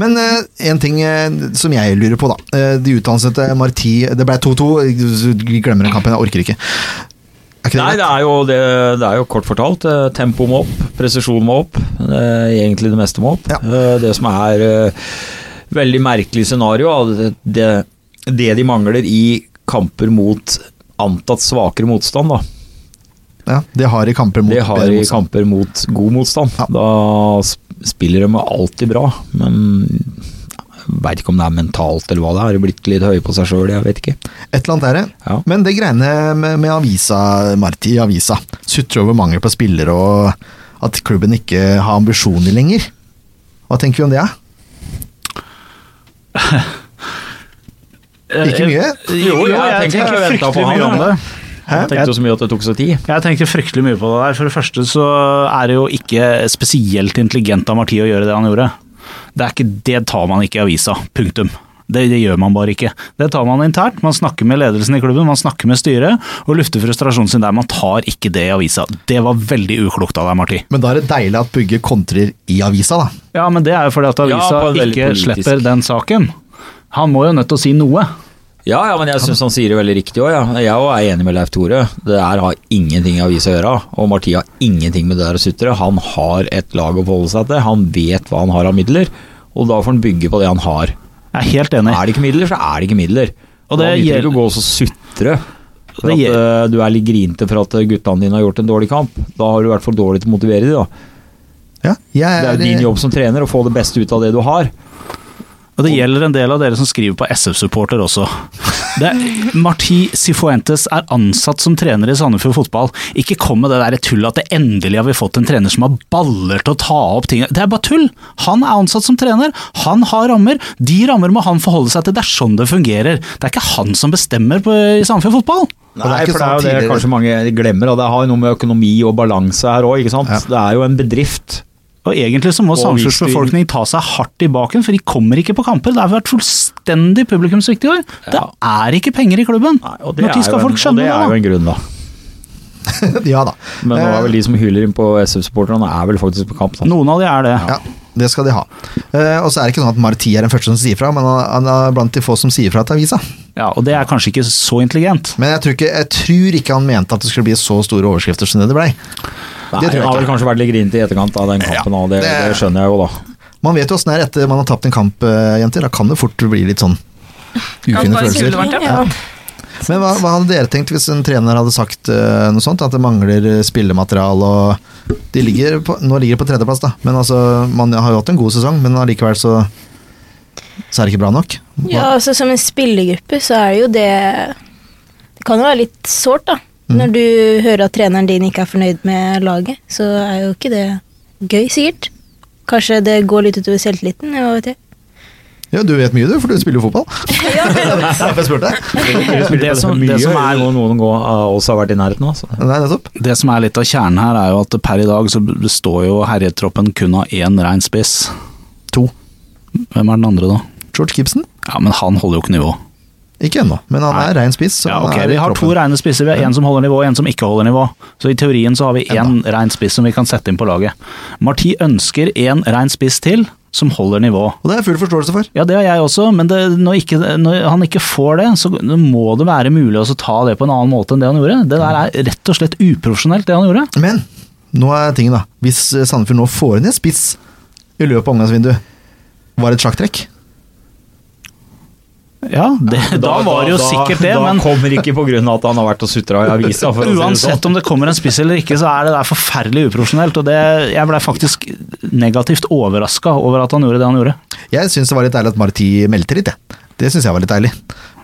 Men eh, en ting eh, som jeg lurer på, da. Eh, de utansatte Marti Det ble 2-2. Vi Glemmer den kampen, jeg orker ikke. Er ikke det Nei, greit? det er, jo, det, det er jo kort fortalt. eh, Tempo må opp, presisjon må opp. Det er egentlig det meste må opp. Ja. Eh, Det som er eh, veldig merkelig scenario, er det, det, det de mangler i kamper mot antatt svakere motstand, da. ja, de har i kamper mot Det har bedre i motstand. kamper mot god motstand. Ja. Da sp- spiller de alltid bra, men veit ikke om det er mentalt eller hva det er. Har de blitt litt høye på seg sjøl, jeg vet ikke. Et eller annet er det. Ja. Men det greiene med, med avisa, Marti i avisa, sutrer over mangel på spillere og at klubben ikke har ambisjoner lenger. Hva tenker vi om det? ja? Ikke mye? Eh, Jo, jo, jeg tenker jeg ventet på fryktelig han, mye om det. Jeg tenkte jo så mye at det tok så tid. Jeg tenkte fryktelig mye på det der. For det første så er det jo ikke spesielt intelligent av Marti å gjøre det han gjorde. Det, er ikke, det tar man ikke i avisa. Punktum. Det, det gjør man bare ikke. Det tar man internt. Man snakker med ledelsen i klubben, man snakker med styret og lufter frustrasjonen sin der. Man tar ikke det i avisa. Det var veldig uklokt av deg, Marti. Men da er det deilig at Bugge kontrer i avisa, da. Ja, men det er jo fordi at avisa på en veldig ikke politisk- slipper den saken. Han må jo nødt til å si noe. Ja, ja, men jeg syns han sier det veldig riktig òg. Ja. Jeg er også enig med Leif Tore. Det der har ingenting i avisa å gjøre. Og Marti har ingenting med det der å sutre. Han har et lag å forholde seg til. Han vet hva han har av midler, og da får han bygge på det han har. Jeg er helt enig. Er det ikke midler, så er det ikke midler. Og Og det det nytter gjel- ikke å gå og så sutre for Det at gjel- eh, du er litt grinte for at eh, guttene dine har gjort en dårlig kamp. Da har du i hvert fall dårlig til å motivere dem. Da. Ja, jeg Det er jo din jobb som trener å få det beste ut av det du har. Og det gjelder en del av dere som skriver på SF-supporter også. Det, Marti Sifuentes er ansatt som trener i Sandefjord fotball. Ikke kom med det der tullet at det endelig har vi fått en trener som har baller til å ta opp ting. Det er bare tull! Han er ansatt som trener, han har rammer. De rammer må han forholde seg til. Det er sånn det fungerer. Det er ikke han som bestemmer på, i Sandefjord fotball. Og det er Nei, ikke for det er sånn jo det tidligere. kanskje mange glemmer. Og det har jo noe med økonomi og balanse her òg, ikke sant. Ja. Det er jo en bedrift. Og egentlig så må Og Sandefjords hvis de- befolkning ta seg hardt i baken, for de kommer ikke på kamper. Det har vært fullstendig publikumssvikt i år. Det er ikke penger i klubben. Nei, og det, er Når jo, skal en, folk og skjønne det det, er da? jo en grunn, da. ja da. Men nå Eh, er vel de som hyler inn på SF-supporterne, er vel faktisk på kamp. Da. Noen av de er det. Ja, det skal de ha. Eh, og så er det ikke sånn at Marti er den første som sier fra, men han- han er blant de få som sier fra til avisa. Ja, og det er kanskje ikke så intelligent. Men jeg tror, ikke, jeg tror ikke han mente at det skulle bli så store overskrifter som det det blei. Nei, det tror jeg har ikke. vel kanskje vært litt grinete i etterkant av den kampen, og det, det, det- skjønner jeg jo, da. Man vet jo åssen det er etter man har tapt en kamp, eh, jenter. Da kan det fort bli litt sånn Kan ufine bare følelser. skulle vært det. Ja. Men hva, hva hadde dere tenkt hvis en trener hadde sagt eh, noe sånt? At det mangler eh, spillemateriale og de ligger på, Nå ligger de på tredjeplass, da. Men altså, man har jo hatt en god sesong, men allikevel så så er det ikke bra nok. Hva- Ja, altså Som en spillergruppe så er det jo det Det kan jo være litt sårt, da. Mm. Når du hører at treneren din ikke er fornøyd med laget, så er jo ikke det gøy, sikkert. Kanskje det går litt utover selvtilliten. Hva vet jeg. Ja, du vet mye du, for du spiller jo fotball. Derfor jeg spurte. Det som, det som er noen, noen gå, av oss har vært i nærheten av. altså. så- Nei, nettopp. det som er litt av kjernen her, er jo at per i dag så består jo herjetroppen kun av én rein spiss. To. Hvem er den andre, da? George Gibson. Ja, men han holder jo ikke nivå. Ikke ennå, men han er rein spiss. så Ja, han ok, er i Vi har to troppen. reine spisser. Vi har én som holder nivå, og én som ikke holder nivå. Så i teorien så har vi én rein spiss som vi kan sette inn på laget. Marti ønsker én rein spiss til som holder nivå. Og det har jeg full forståelse for. Ja, det har jeg også, men det, når, ikke, når han ikke får det, så må det være mulig å så ta det på en annen måte enn det han gjorde. Det der er rett og slett uprofesjonelt, det han gjorde. Men nå er tingen, da. Hvis eh, Sandefjord nå får inn en spiss i løpet av omgangsvinduet, var det et sjakktrekk? Ja, det, da, var det jo da- sikkert det, da men kommer ikke på grunn av at han har vært og sutra i avisa. for å si det sånn. Uansett om det kommer en spiss eller ikke, så er det der forferdelig uprofesjonelt. Og det, jeg ble faktisk negativt overraska over at han gjorde det han gjorde. Jeg syns det var litt deilig at Marti meldte litt, jeg. Det syns jeg var litt deilig.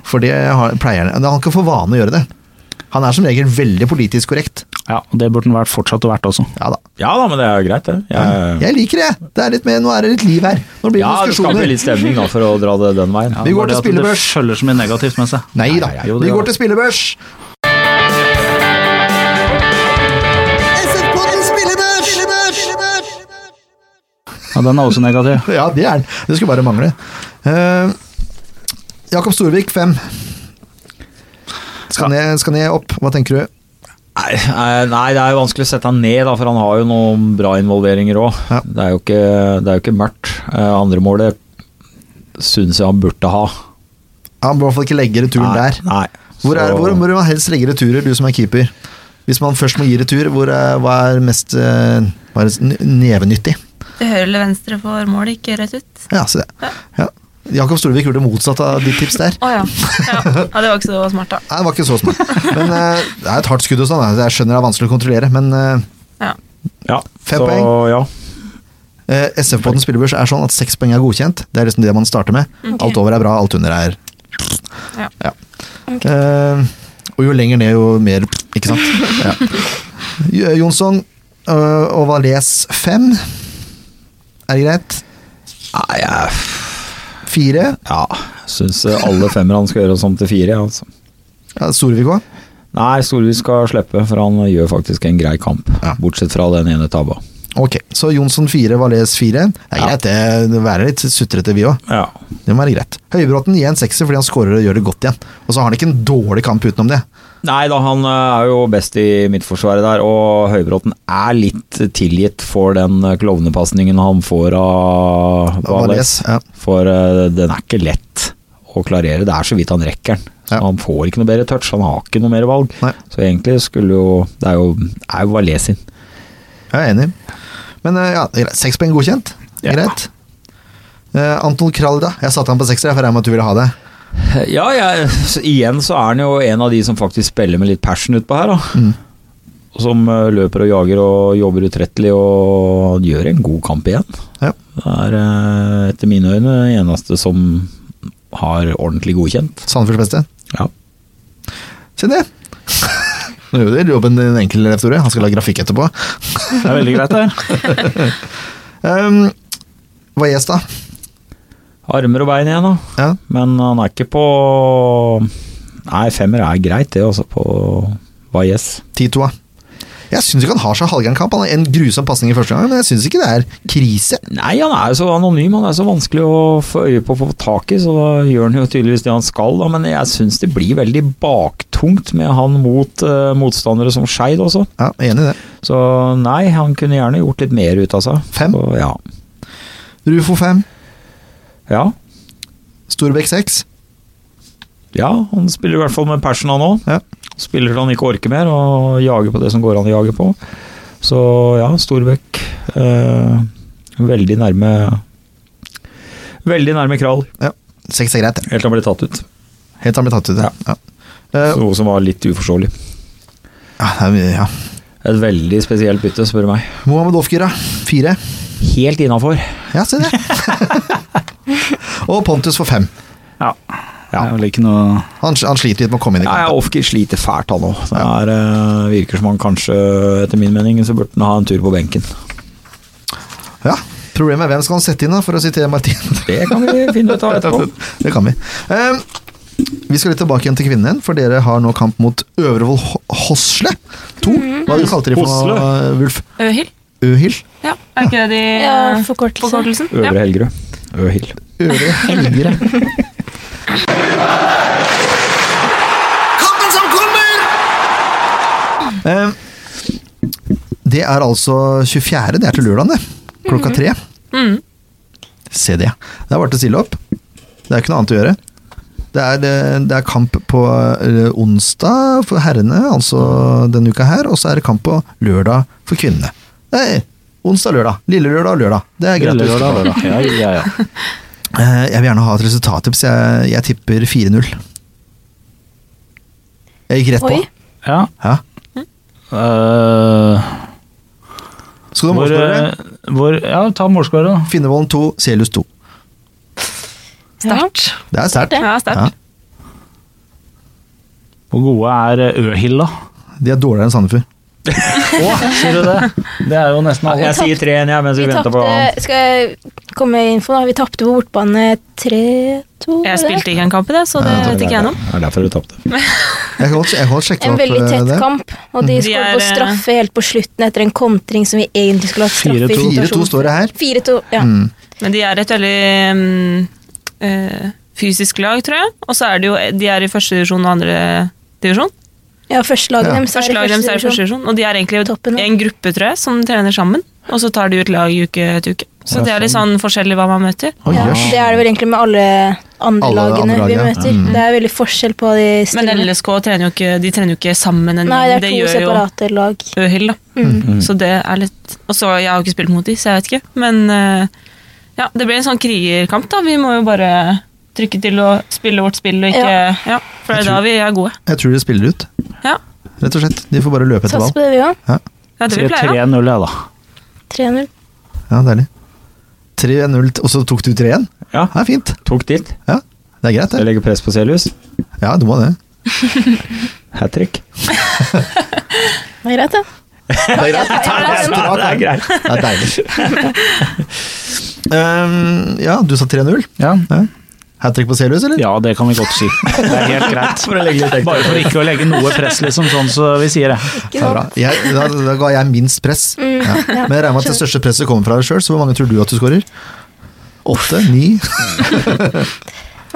For det har, pleier han Han har ikke for vane å gjøre det. Han er som regel veldig politisk korrekt. Ja, og Det burde han vært fortsatt å vært også. Ja da. Ja da, men det er jo greit, det. Eh. Jeg, Jeg liker det! det er litt mer, nå er det litt liv her. Nå blir det ja, det skaper diskusjoner. litt stemning da, for å dra det den veien. Vi går Bare til det at spillebørs. Det følger så mye negativt med seg. Nei da. Jo, Vi det går til spillebørs. SF-podden spillebørs! Ja, den er også negativ. Ja, det er den. Det skulle bare mangle. Eh, Jakob Storvik, fem. Skal ned, skal ned opp, hva tenker du? Nei, eh, nei, det er jo vanskelig å sette han ned, da, for han har jo noen bra involveringer òg. Ja. Det, er jo ikke- det er jo ikke mørkt. Eh, Andre målet syns jeg han burde ha. Han må i hvert fall ikke legge returen nei, der. Nei. Hvor, er, Så- hvor må man helst legge returer, du som er keeper? Hvis man først må gi retur, hvor er, hva er mest eh, hva er det, n- nevenyttig? Til høyre eller venstre for mål, ikke rett ut. Ja, se det. Ja. Jakob Storvik gjorde motsatt av ditt tips der. Å ja. ja. Ja, det var ikke så smart, da. Nei, det var ikke så smart. Men eh, det er et hardt skudd og sånn. da. Jeg skjønner det er vanskelig å kontrollere, men eh, Ja. ja. Fem så, poeng. Ja. Eh, SF-podden spillebørs er sånn at seks poeng er godkjent. Det er liksom det man starter med. Alt over er bra, alt under er Ja. Eh, og jo lenger ned, jo mer Ikke sant? Ja. Jo- Jonsson eh, og Valais fem. Er det greit? Nei, jeg Fire. ja, syns alle femmerne skal gjøre oss om til fire. ja, Altså. Ja, Storvik òg. Nei, Storvik skal slippe, for han eh, gjør faktisk en grei kamp. Ja. Bortsett fra den ene tabba. Ok, så Jonsson fire, Valais fire. Det er Ja. greit, det. det Være litt sutrete, vi òg. Ja. Det må være greit. Høybråten gir en sekser fordi han scorer og gjør det godt igjen. Og så har han ikke en dårlig kamp utenom det. Nei da, han eh, er jo best i midtforsvaret der, og Høybråten er litt tilgitt for den eh, klovnepasningen han får av Valles. Valais, ja. For eh, den er ikke lett å klarere, det er så vidt han rekker den. Så Ja. Han får ikke noe bedre touch, han har ikke noe mer valg. Nei. Så egentlig skulle jo Det er jo, er jo Valais sin. Jeg er enig. Men eh, ja, det er greit. seks poeng godkjent. Ja. Greit. Eh, Anton Kralda. Jeg satte han på sekser, jeg, for jeg regner med at du ville ha det. Eh, Ja, jeg, så igjen så er han jo en av de som faktisk spiller med litt passion utpå her, da. Mm. Som eh, løper og jager og jobber utrettelig og gjør en god kamp igjen. Ja. Det er eh, etter mine øyne eneste som har ordentlig godkjent. Sandefjords beste. Ja. Se det! Nå gjør du jobben din enkel, Leif Tore. Han skal lage grafikk etterpå. Det er veldig greit, det her. Um, Valles, da. Armer og bein igjen, da. Ja. Men han er ikke på Nei, femmer er greit, det, altså, på Valles. 10-2. Jeg syns ikke han har så halvgæren kamp. Han har en grusom pasning i første gang, men jeg syns ikke det er krise. Nei, han er jo så anonym, han er så vanskelig å få øye på på tak i, så da gjør han jo tydeligvis det han skal, da, men jeg syns det blir veldig baktungt med han mot eh, motstandere som Skeid også. Ja, jeg er Enig i det. Så nei, han kunne gjerne gjort litt mer ut av seg. Fem? Så, ja. Rufo 5. ja. Storbekk 6. Ja, han spiller i hvert fall med passion han òg. Ja. Spiller til han ikke orker mer, og jager på det som går an å jage på. Så ja, Storbekk eh, veldig nærme Veldig nærme Kral, 6 er greit. ja. helt til han ble tatt ut. Helt til han blir tatt ut. Ja. Ja. Eh, Noe som var litt uforståelig. ja, det er- ja. Et veldig spesielt bytte, spør du meg. Mohammed Ofkira 4. Helt innafor. Ja, se det. og Pontus får fem. Ja. Det Ja. er vel ikke noe Han, han sliter litt med å komme inn i Ja, ja, kampen. Ofker sliter fælt, han òg. Det er, eh, virker som han kanskje, etter min mening, så burde han ha en tur på benken. Ja, Problemet er hvem skal han sette inn, da, for å sitere Martin. Det kan vi finne ut av etterpå. det kan vi. Ehm, vi skal litt tilbake igjen til kvinnen igjen, for dere har nå kamp mot Øvrevoll Ho- Hosle 2. Mhm. Hva kalte de for noe, Wulf? Øhild? Øhild? Ja, er ikke det de Ja, eh, forkortelse. forkortelsen? Ja. Øvre Helgerud. Øhild. Øvre Helgere. Eh, Det er altså 24. Det er til lørdag, det. Klokka tre. Mm. Se det. Det er bare til å stille opp. Det er ikke noe annet å gjøre. Det er, eh, det er kamp på eh, onsdag for herrene, altså denne uka her, og så er det kamp på lørdag for kvinnene. Nei, onsdag, lørdag. Lille lørdag og lørdag. Det er greit. å huske på. Lørdag, lørdag. Ja, ja, ja. Eh, Jeg vil gjerne ha et resultattips. Jeg, jeg tipper 4-0. Jeg gikk rett på. Oi. ja. Ja. Eh, Skal du ha hvor, målskårere? eh, hvor, ja, ta målskårer, da. Finnevolden 2, Selhus 2. Sterkt. Det er sterkt. Ja, sterkt. Ja. Hvor gode er eh, Øhild, da? De er dårligere enn Sandefjord. Å, sier du det? Det er jo nesten alle. Jeg sier 3-1, jeg, mens vi, Vi venter på han. tapte Skal jeg komme med info, da? Vi tapte på bortbane 3-2. Jeg spilte ikke en kamp i det, så det Ja, vet ikke jeg noe om. Det er derfor du tapte. Jeg kan godt, jeg kan godt sjekke En opp veldig eh, tett det. kamp, og de Mm. De skåret er, eh, på straffe helt på slutten etter en kontring som vi egentlig skulle hatt straffe i 4-2. 4-2 rotasjon. står det her. 4-2, ja. Mm. Men de er et veldig mm, eh, fysisk lag, tror jeg. Og så er det jo, de er i første divisjon og andre divisjon. ja første laget Ja. deres er Første i laget deres er i første divisjon. divisjon, og de er egentlig Toppen, ja. en gruppe, tror jeg, som trener sammen. Og så tar de ut lag i uke etter uke. Så Ja, det er litt sånn forskjellig hva man møter. Oi, Ja, jøss. det er det vel egentlig med alle andre Alle lagene andre lag, vi ja. møter. Mm. Det er veldig forskjell på de Men store. LSK trener jo ikke, de trener jo ikke sammen. En Nei, gjeng. det er to gjør jo separate lag. Øhild, da. Mm. Så det er litt Og så, jeg har jo ikke spilt mot de, så jeg vet ikke. Men eh, ja, det blir en sånn krigerkamp, da. Vi må jo bare trykke til og spille vårt spill og ikke Ja, for det Jeg er da vi er gode. Jeg tror de spiller ut, Ja, rett og slett. De får bare løpe etter Sats ball. på det, vi òg. det er det Sier vi pleier, da. 3-0, jeg, da. 3-0. Ja, deilig. 3-0, og så tok du 3-1? Ja, Det er fint. tok ditt. Ja, det er greit, Jeg det. legger press på Selhus. Ja, du må det. Hat trick. Det er greit, det. Det er greit. Det er greit. Det er deilig. Um, ja, du sa 3-0. Ja. Ja. Hat trick på Selhus, eller? ja, det kan vi godt si. Det er helt greit. For å legge litt ekstra Bare for ikke å legge noe press, liksom, sånn som vi sier det. Det er bra. Jeg, da, da ga jeg minst press. Ja. Mm, Men jeg regner med at det største presset kommer fra deg sjøl, så hvor mange tror du at du skårer? Åtte? Ni?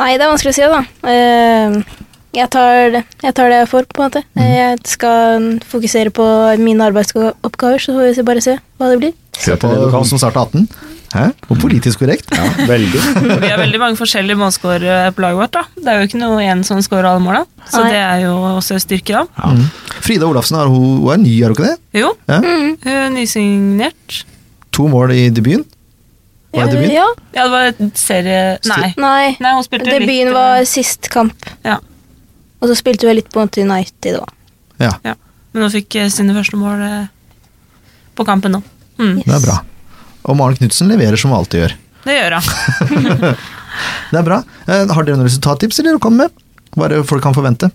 Nei, det er vanskelig å si, da. Eh, Jeg tar det jeg, tar det jeg får, på en måte. Eh, Jeg skal fokusere på mine arbeidsoppgaver, så får vi se- bare se hva det blir. Se på hun som starta 18. Hæ? Og politisk korrekt. Ja, veldig. Vi har veldig mange forskjellige målskårere på laget vårt. da. Det er jo ikke noe én som skårer alle måla, så Nei. det er jo også styrke, da. Mm. Frida Olafsen er, hun, hun er ny, er hun ikke det? Jo, Ja. Mhm. hun er nysignert. To mål i debuten. Var det debut? Ja. Ja, det var et serie... Nei. Nei, Nei, hun spilte litt debuten eh, var sist kamp. Ja. Og så spilte vi litt på United òg. Ja, ja. Men hun fikk eh, sine første mål eh, på kampen nå. Mm. det er bra. Og Maren Knutsen leverer som hun alltid gjør. Det gjør hun. Det er bra. Eh, har dere noen resultattips eller å komme med? Hva er det folk kan forvente?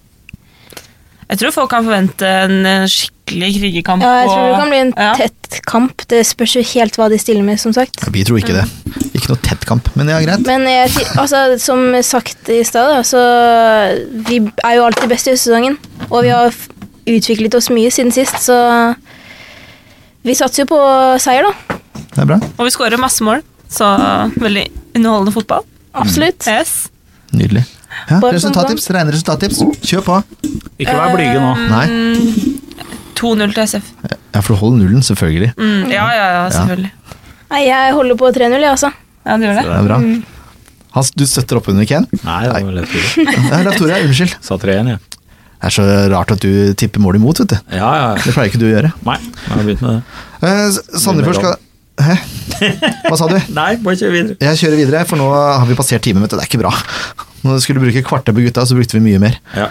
Jeg tror folk kan forvente en eh, skikkelig krigerkamp. Ja, jeg og- tror det kan bli en Ja. tett kamp. Det spørs jo helt hva de stiller med, som sagt. Ja, vi tror ikke det. Ikke noe tett kamp, men ja, greit. Men jeg, ti- altså, som sagt i stad, da, så vi er jo alltid best i høstsesongen. Og vi har f- utviklet oss mye siden sist, så vi satser jo på seier, da. Det er bra. Og vi skårer masse mål, så veldig underholdende fotball. Absolutt. Yes. Nydelig. Ja, Bare sånn som resultattips, rene resultattips. Kjør på. Ikke vær blyge nå. Nei. Mm, 2-0 til SF. Ja, for du holder nullen, selvfølgelig. Mm, ja, ja, ja, selvfølgelig. Nei, jeg holder på 3-0, jeg, altså. Ja, det gjør det. Det er bra. Hans, du støtter opp under Ken? Nei, det var lett fire. Nei, Leif Tore, unnskyld. Sa 3-1, jeg. Det er så rart at du tipper mål imot, vet du. Ja, ja. Det pleier ikke du å gjøre. Nei, jeg har begynt med det. Eh, S- Sandefjord skal Hæ? Hva sa du? Nei, bare kjør videre. Jeg kjører videre, for nå har vi passert timen, vet du. Det er ikke bra. Når vi skulle bruke kvarter på gutta, så brukte vi mye mer. Ja.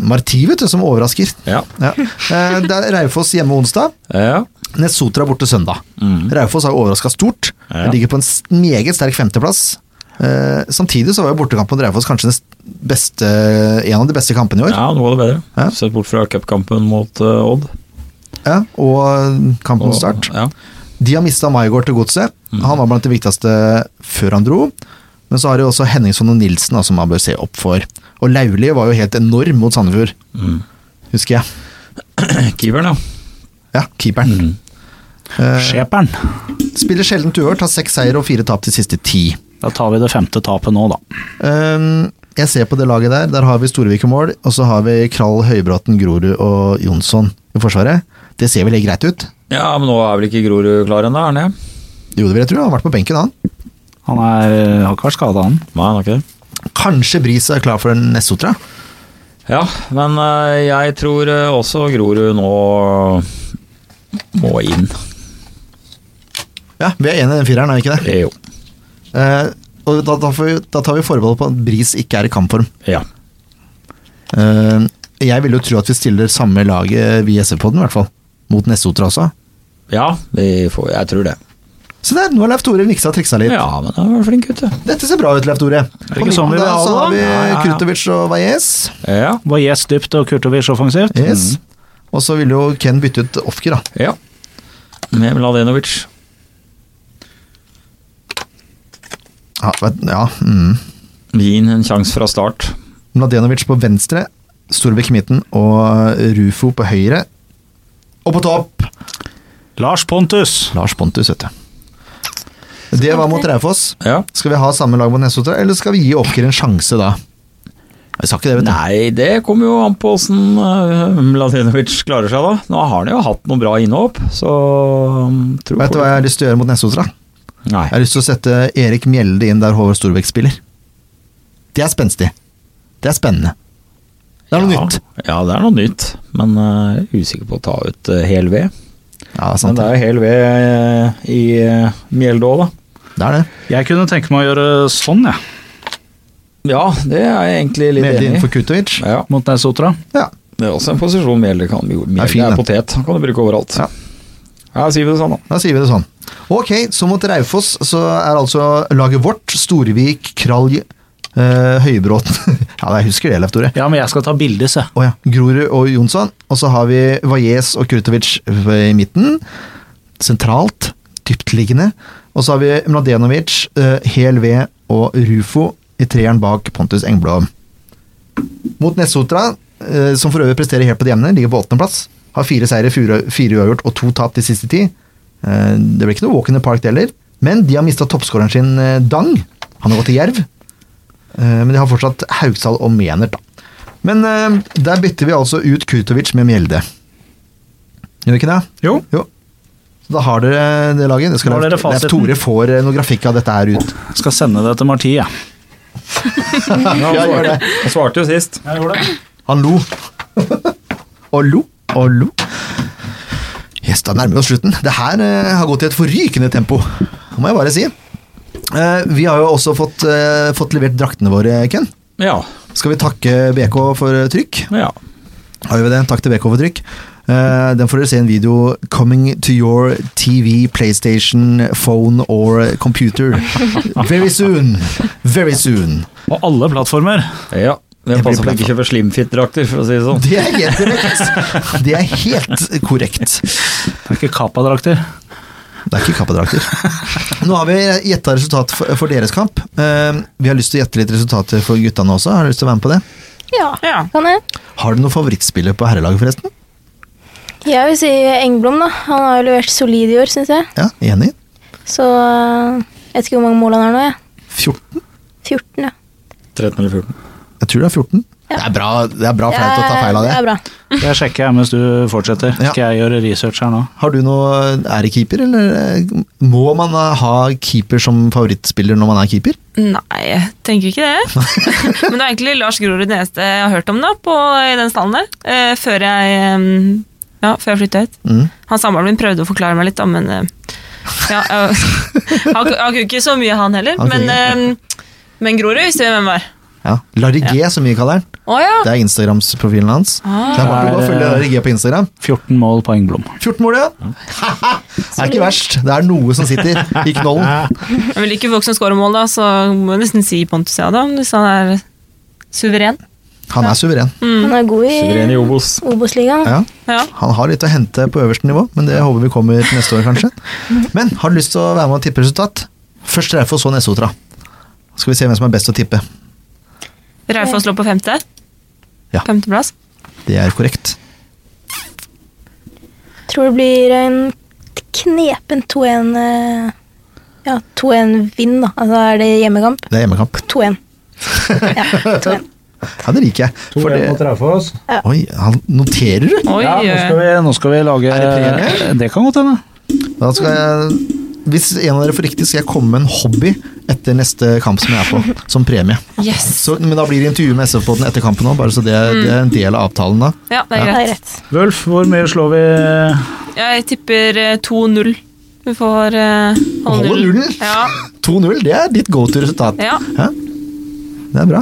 Marti, vet du, som overrasker. Ja. Ja. Eh, Det er Raufoss hjemme onsdag. ja. Nessotra borte søndag. Raufoss har overraska stort. Mm. Ja. De ligger på en s- meget sterk femteplass. Eh, samtidig så var jo bortekampen mot Raufoss kanskje den s- beste, en av de beste kampene i år. Ja. Ja, noe av det bedre. Ja. Sett bort fra cupkampen mot eh, Odd. og kampen Og- mot Start. Ja. De har mista Maigård til godset. Han var blant de viktigste før han dro. Men så har de også Henningsson og Nilsen da, som man bør se opp for. Og Lauli var jo helt enorm mot Sandefjord, Mm. husker jeg. Keeperen, ja. Ja, keeperen. Mm. Eh, Skjeperen. spiller sjelden uørt, har seks seier og fire tap de siste ti. Da tar vi det femte tapet nå, da. Ehm, jeg ser på det laget der. Der har vi Storevik i mål, og så har vi Krall, Høybråten, Grorud og Jonsson. i Forsvaret. Det ser vel helt greit ut? Ja, men nå er vel ikke Grorud klar ennå, er han det? Jo, det vil jeg tro. Han har vært på benken, han. Han er, eh, har ikke vært skada, han. Nei, han er ikke det. Kanskje Bris er klar for en Nessotra? Ja, men eh, jeg tror eh, også Grorud nå må inn. Ja, vi er enige i den fireren, er vi ikke det? Eh, Jo. Eh, og da, da, får vi, da tar vi forbehold på at Bris ikke er i kampform. Ja. Eh, jeg vil jo tro at vi stiller samme laget vi i SV-podden, i hvert fall. Mot Nessotra også. Ja, vi får, jeg tror det. Se der, nå har Leif Tore niksa og triksa litt. Ja, men han var flink gutt, det. Dette ser bra ut, Leif Tore. det ikke sånn vi vil da, ha så det, har da? vi Ja, ja, ja. Kurtovic og Vajez. Ja. Var Yes dypt og Kurtovic offensivt? Mm. Yes. Og så vil jo Ken bytte ut Ofker, da. ja. Med Mladenovic. Ja, vet, ja. Mm. Wien en sjanse fra start. Mladenovic på venstre, Storbekk i midten og Rufo på høyre. Og på topp Lars Pontus! Lars Pontus, vet du. Det var mot Raufoss. Ja. Skal vi ha samme lag mot Nessotra, eller skal vi gi Ofker en sjanse da? Jeg sa ikke det, vet du. Nei, det kommer jo an på åssen Mladenovic klarer seg, da. Nå har han jo hatt noen bra innhopp, så um, tror Vet du hva jeg har lyst til å gjøre mot Nessotra? Nei. Jeg har lyst til å sette Erik Mjelde inn der Håvard Storbekk spiller. Det er spenstig. Det er spennende. Det er noe ja. nytt. Ja, det er noe nytt, men eh, usikker på å ta ut eh, hel ved. Ja, det er Men sant. det Det er jo hel ved eh, i uh, Mjelde òg, da. er det. Jeg kunne tenke meg å gjøre sånn, jeg, ja, Ja, det er jeg egentlig litt Mjelde enig inn i. for Kutovic. Ja, mot Nesotra. Ja. det er også en posisjon Mjelde kan jo Mjelde er, fin, den. potet, han kan du bruke overalt. Ja. Ja. sier vi det sånn, da. Da sier vi det sånn. Ok, så mot Raufoss så er altså laget vårt Storvik, Kralj, eh, Høybråten Ja, jeg husker det, Leif Tore. Ja, men jeg skal ta bilde, se. Å ja. Grorud og Jonsson. Og så har vi Vajez og Kurtovic i midten. Sentralt. Dyptliggende. Og så har vi Mladenovic, eh, Hel V og Rufo i treeren bak Pontus Engblom. Mot Nessotra, eh, som for øvrig presterer helt på det jevne, ligger på åttendeplass. Har fire seire, fire fire uavgjort og to tap de siste ti. Eh, det blir ikke noe walk in the park, det heller. Men de har mista toppskåreren sin, eh, Dang. Han har gått til Jerv. Eh, Men de har fortsatt Haugsdal og Menert, da. Men eh, der bytter vi altså ut Kurtovic med Mjelde. Gjør vi ikke det? Jo. Så Da har dere det laget. Det skal Da har Leif, dere Leif fasiten. Tore får eh, noe grafikk av dette her ut. Jeg skal sende det til Marti, jeg. Ja, Ja, han, gjør svarte, han svarte jo sist. Ja. Jeg gjorde det. Han lo. og lo og lo. Yes, da nærmer vi oss slutten. Det her eh, har gått i et forrykende tempo. Det må jeg bare si. Eh, vi har jo også fått, eh, fått levert draktene våre, Ken. Ja. Skal vi takke BK for eh, trykk? ja. Har vi det? Takk til BK for trykk. Eh, den får dere se i en video 'Coming to your TV, PlayStation, phone or computer'. Very soon! Very soon. På alle plattformer. ja. Jeg blir Det passer på å ikke platt. kjøpe slimfit-drakter, for å si det sånn. Det er helt korrekt. Det er helt korrekt. Det er ikke kappadrakter. Det er ikke kappadrakter. Nå har vi gjetta resultat for, for deres kamp. Eh, vi har lyst til å gjette litt resultater for guttene også. Har du lyst til å være med på det? Ja, Ja. kan jeg. Har du noen favorittspiller på herrelaget, forresten? Jeg vil si Engblom, da. Han har jo levert solid i år, syns jeg. Ja, Enig? Så øh, jeg vet ikke hvor mange mål han har nå, jeg. 14? 14, ja. 13 eller 14. Jeg tror det er 14. Det er bra, det er bra flaut å ta feil av Det det. er bra. Det sjekker jeg mens du fortsetter. Ja. Skal jeg gjøre research her nå? Har du noe Er det keeper, eller eh, må man eh, ha keeper som favorittspiller når man er keeper? Nei, jeg tenker ikke det. Men det er egentlig Lars Grorud det eneste jeg har hørt om da, på, i den stallen der. eh, før jeg, eh, ja, før jeg flytta hit. Mm. Han samboeren min prøvde å forklare meg litt, da, men eh, ja, jeg- han, han kunne ikke så mye, han heller. Han kunne Men, eh, men Grorud visste hvem var. Ja. Larry G, som vi kaller den. Å ja! Det er Instagrams-profilen hans. Det er bare å gå og følge Larry G på Instagram. 14 mål på Engblom. 14 mål, ja! det er ikke verst. Det er noe som sitter i knollen. Jeg vil ikke folk som scorer mål, da, så må jeg nesten si Pontus ja, da, hvis han er suveren. Han er suveren. Han er god Suveren i i Obos. Obos-ligaen. Ja. Ja. Han har litt å hente på øverste nivå, men det håper vi kommer til neste år, kanskje. Men har du lyst til å være med og tippe resultat? Først Raufoss, så Nessotra. Så Skal vi se hvem som er best å tippe. Raufoss lå på femte. Ja. Femteplass. Det er korrekt. Tror det blir en knepen 2-1 øh, Ja, 2-1-vinn, da. Altså er det hjemmekamp. Det er hjemmekamp. 2-1. Ja, 2-1. Ja, det liker jeg. For det, Traufoss. oi, han noterer du? Oi, Ja, nå skal, eh, vi, nå skal vi lage Er det Det kan godt hende. Da skal jeg, hvis en av dere får riktig, skal jeg komme med en hobby etter neste kamp som jeg er på, som premie. yes. Så, men da blir det intervju med SF-båten etter kampen òg, bare så det, det er en del av avtalen da. Ja, det er Det er greit. rett. Wulf, hvor mye slår vi Jeg tipper eh, 2-0. Vi får eh, holde Holde nullen. nullen? Ja, 2-0, det er ditt go to resultat. ja. Ja. Det er bra.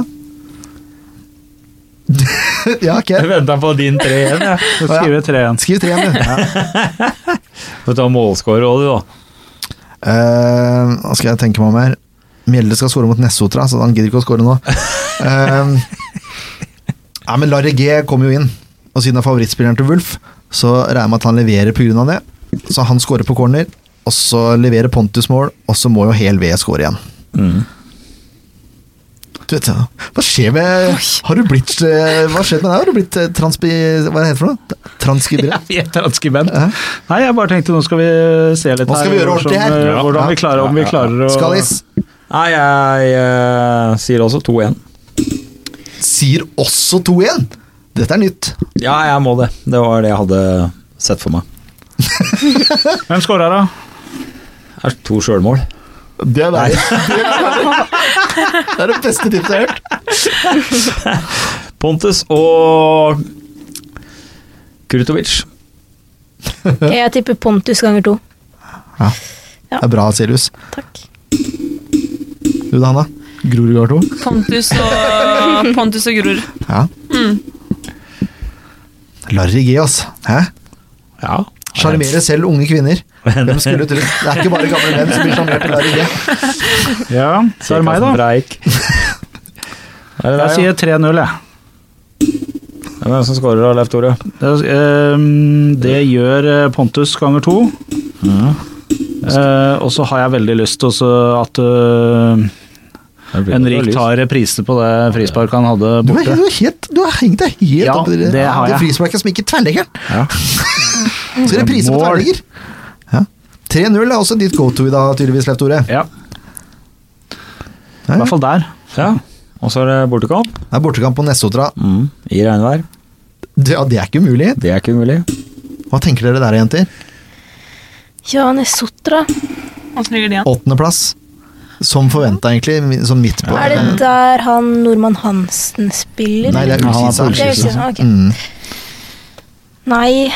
ja, ok. Jeg venta på din tre igjen, jeg. Skrive 3-1. Skriv tre igjen, du. Får ta målscorer òg, du, da. Eh, Nå skal jeg tenke meg om her. Mjelde skal skåre mot Nessotra, så han gidder ikke å skåre nå. Eh, ja, men Larre G kom jo inn, og siden han er favorittspilleren til Wulf, så regner jeg med at han leverer pga. det. Så han skårer på corner, og så leverer Pontus mål, og så må jo hel V skåre igjen. Mm. Du vet, ja, hva skjer med Har du blitt eh, Hva skjer med deg? Har du blitt eh, transpi... Hva er det heter for noe? Transkribert? Jeg er transkribent. Ja. Nei, jeg bare tenkte nå skal vi se litt Nå skal vi gjøre hvordan- ordentlig her. eh, Hvordan vi Ja. klarer, om vi klarer å Skallis Nei, jeg eh, sier også 2-1. sier også 2-1. Dette er nytt. Ja, jeg må det. Det var det jeg hadde sett for meg. Hvem skåra, da? Det er to sjølmål. Det er deg. Det er det beste tipset jeg har hørt. Pontus og Kurtovic. Jeg tipper Pontus ganger to. Det er bra, Sirius. Takk. Du da, Hanna? Grorud går to. Pontus og, Pontus og Gror. Ja. Larry G, altså. Hæ? Ja. Sjarmerer selv unge kvinner. Hvem skulle tro? Det er ikke bare gamle menn som blir sjarmert av Larry G. Ja, så er det meg, da. Breik. Er det Jeg deg, ja? sier 3-0, jeg. Hvem er det som scorer da, Leif Tore? Det, ehm, det gjør eh, Pontus ganger to. Eh, og så har jeg veldig lyst til også at eh, Henrik tar reprise på det frisparket han hadde Du er, borte. du er helt, du har hengt deg helt Ja, opp i det, det har det jeg. frisparket som gikk i tverrleggeren. Ja. Så er det priser på Mål. tverrlegger. Ja. 3-0 er også ditt go to i dag, tydeligvis, Leif Tore. Ja, i Ja. hvert fall der. Ja. Og så er det bortekamp. Det er bortekamp på Nessotra. Mm. I regnvær. Det, ja, det er ikke umulig. Det er ikke umulig. Hva tenker dere der, jenter? Ja, Nesotra. Åssen ligger de an? Åttendeplass. Som forventa, egentlig. Sånn midt på. Er det der han nordmann Hansen spiller? Nei, det er Ja, han er Ullkisa. på Det er Ullkisa. Ullkisa, ok. Mm. Nei,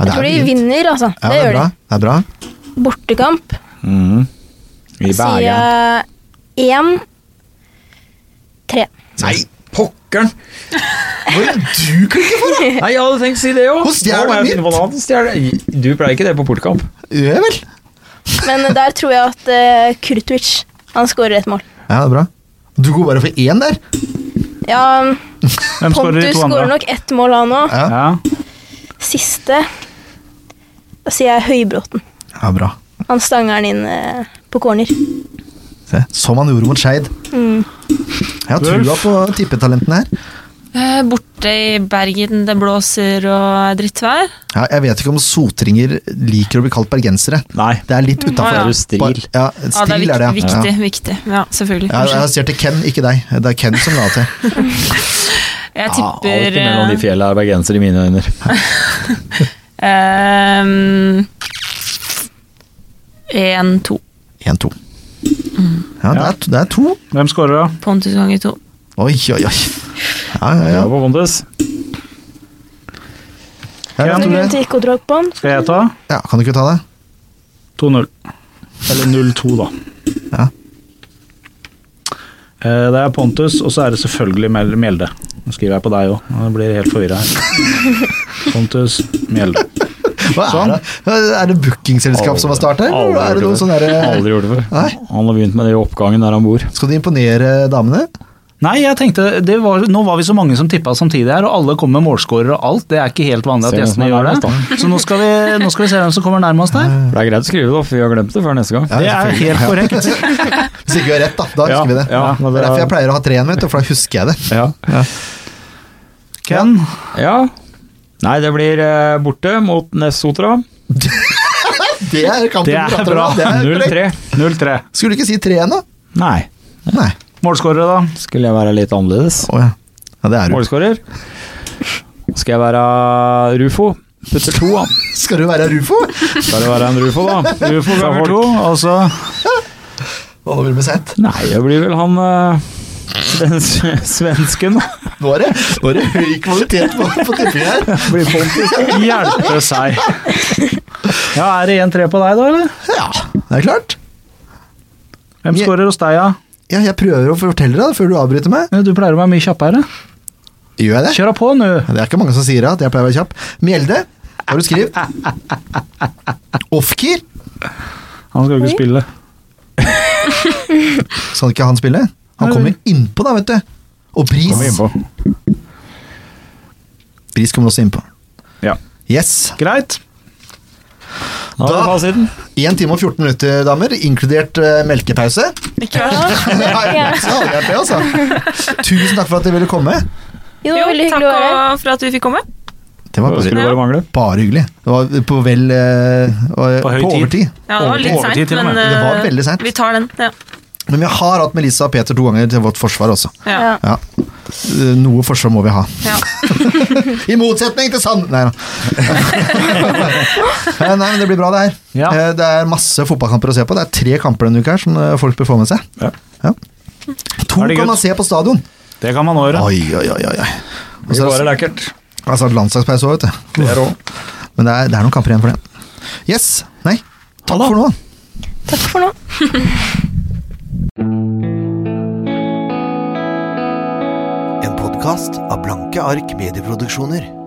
Ja, jeg tror de vrient. vinner, altså. Ja, det, det er gjør bra. de. Det er bra. Bortekamp Mm. I sier Bergen. jeg 1-3. Nei, Pokkeren! hva er det du klikker for? da? Nei, jeg hadde tenkt å si det òg. Hvor stjeler du mitt? Du pleier ikke det på portkamp. Ja vel. Men der tror jeg at eh, Kurtovic han skårer et mål. Ja, det er bra. Du går bare for én der? Ja, Hvem skårer de Pontus to skårer andre? nok ett mål, han òg. Ja, Ja. Siste Da sier jeg Høybråten. ja bra. Han stanger den inn eh, på corner. Se. Som han gjorde mot Skeid. Mm. Jeg har trua på tippetalentene her. Eh, Borte i Bergen, det blåser og er drittvær. Ja, jeg vet ikke om sotringer liker å bli kalt bergensere. Nei. Det er Mm. litt Ja, utafor. ja. Stil. Ja, Ja, det er stil viktig. er det, ja. viktig, viktig. Ja, selvfølgelig. Ja, jeg Kanskje. ser til Ken, ikke deg. Det er Ken som la til. Jeg Alt tipper mellom de eh, fjellene er bergensere i mine øyne. ehm, 1-2. 1-2. Mm. Ja, det er, det er to. Hvem skårer, da? Pontus ganger to. Oi, oi, oi. Ja, ja, ja. Bra på Pontus. Ja, jeg Det er tror grunn det. til ikke å dra på han. Skal jeg ta? ja, kan du ikke ta det? 2-0. Eller 0-2, da. Ja. Eh, Det er Pontus, og så er det selvfølgelig Mel- Mjelde. Nå skriver jeg på deg òg, jeg blir helt forvirra her. Pontus Mjelde. Hva er det? Sånn. Er det bookingselskap som har startet? eller Aldri Er det gjort noen det. sånn derre- Aldri gjort det før. Nei? Han har begynt med det i oppgangen der han bor. Skal du imponere damene? Nei, jeg tenkte, det var, Nå var vi så mange som tippa samtidig her, og alle kom med målskårere og alt. Det er ikke helt vanlig at Se hvem som gjestene er gjør nærmest, det. Så nå skal, vi, nå skal vi se hvem som kommer nærmest her. For Det er greit å skrive det, da, for vi har glemt det før neste gang. Det er selvfølgelig. helt korrekt. Hvis ikke vi har rett, da. Da husker vi det. Ja, men Det er derfor jeg pleier å ha tre igjen, vet du, for da husker jeg det. ja. Ken, ja. Nei, det blir eh, borte mot Nessotra. Det er kampen Det vi er prater om, bra. da. Det er korrekt. 0-3. 0-3. Skulle du ikke si tre igjen, da? Nei. Nei. Målskårere, da? Skulle jeg være litt annerledes? Å ja. ja, det er du. Målskårer. Skal jeg være Rufo? Putter to, da. Skal du være Rufo? Skal det være en Rufo, da? Ufo Fra ganger Holt. to, altså Hva hadde blitt sett? Nei, det blir vel han eh, svens svensken. Nå er det, nå er det høy kvalitet på, på tipping her. Blir Pontus. hjelpe seg. Ja, Er det 1-3 på deg, da? eller? Ja, det er klart. Hvem Ja. skårer hos deg, ja? Ja, jeg prøver å fortelle deg det før du avbryter meg. Du pleier å være mye kjappere. Gjør jeg det? Kjør på nå! Ja, Det er ikke mange som sier at jeg pleier å være kjapp. Mjelde, hva har du skrevet? Ofkir? Han skal jo ikke spille. Skal ikke han spille? Han kommer innpå da, vet du. Og Kommer Bris. innpå. Bris kommer også innpå. Ja. Yes. Greit. Da er det Da- fasiten. 1 time og 14 minutter, damer, inkludert eh, melkepause. Ikke verst. Ja, ja, så hadde jeg vært det, altså. Tusen takk for at dere ville komme. Jo, Jo, veldig takk hyggelig å være her. og- for at vi fikk komme. Det var Det skulle bare, bare mangle. bare hyggelig. Det var på vel eh, var- På høy på tid. overtid. Ja, det var litt Overtid seint, til og med. men Det var eh, veldig sent. vi tar den. Ja. Men vi har hatt Melissa og Peter to ganger til vårt forsvar også. Ja. Ja. Eh, Noe forsvar må vi ha. Ja. I motsetning til Sand... Nei da. Eh, Nei, men det blir bra, det her. Ja. Eh, Det er masse fotballkamper å se på. Det er tre kamper denne uka her som eh, folk bør få med seg. Ja. Ja. To Er det kan gutt? man se på stadion. Det kan man nå gjøre. Oi, oi, oi. oi. Og Det så var er det lekkert. altså, landslagspause òg, vet du. Det er òg. Men det er, det er noen kamper igjen for det. Yes. Nei. Takk for nå. Takk for nå. En podkast av Blanke ark medieproduksjoner.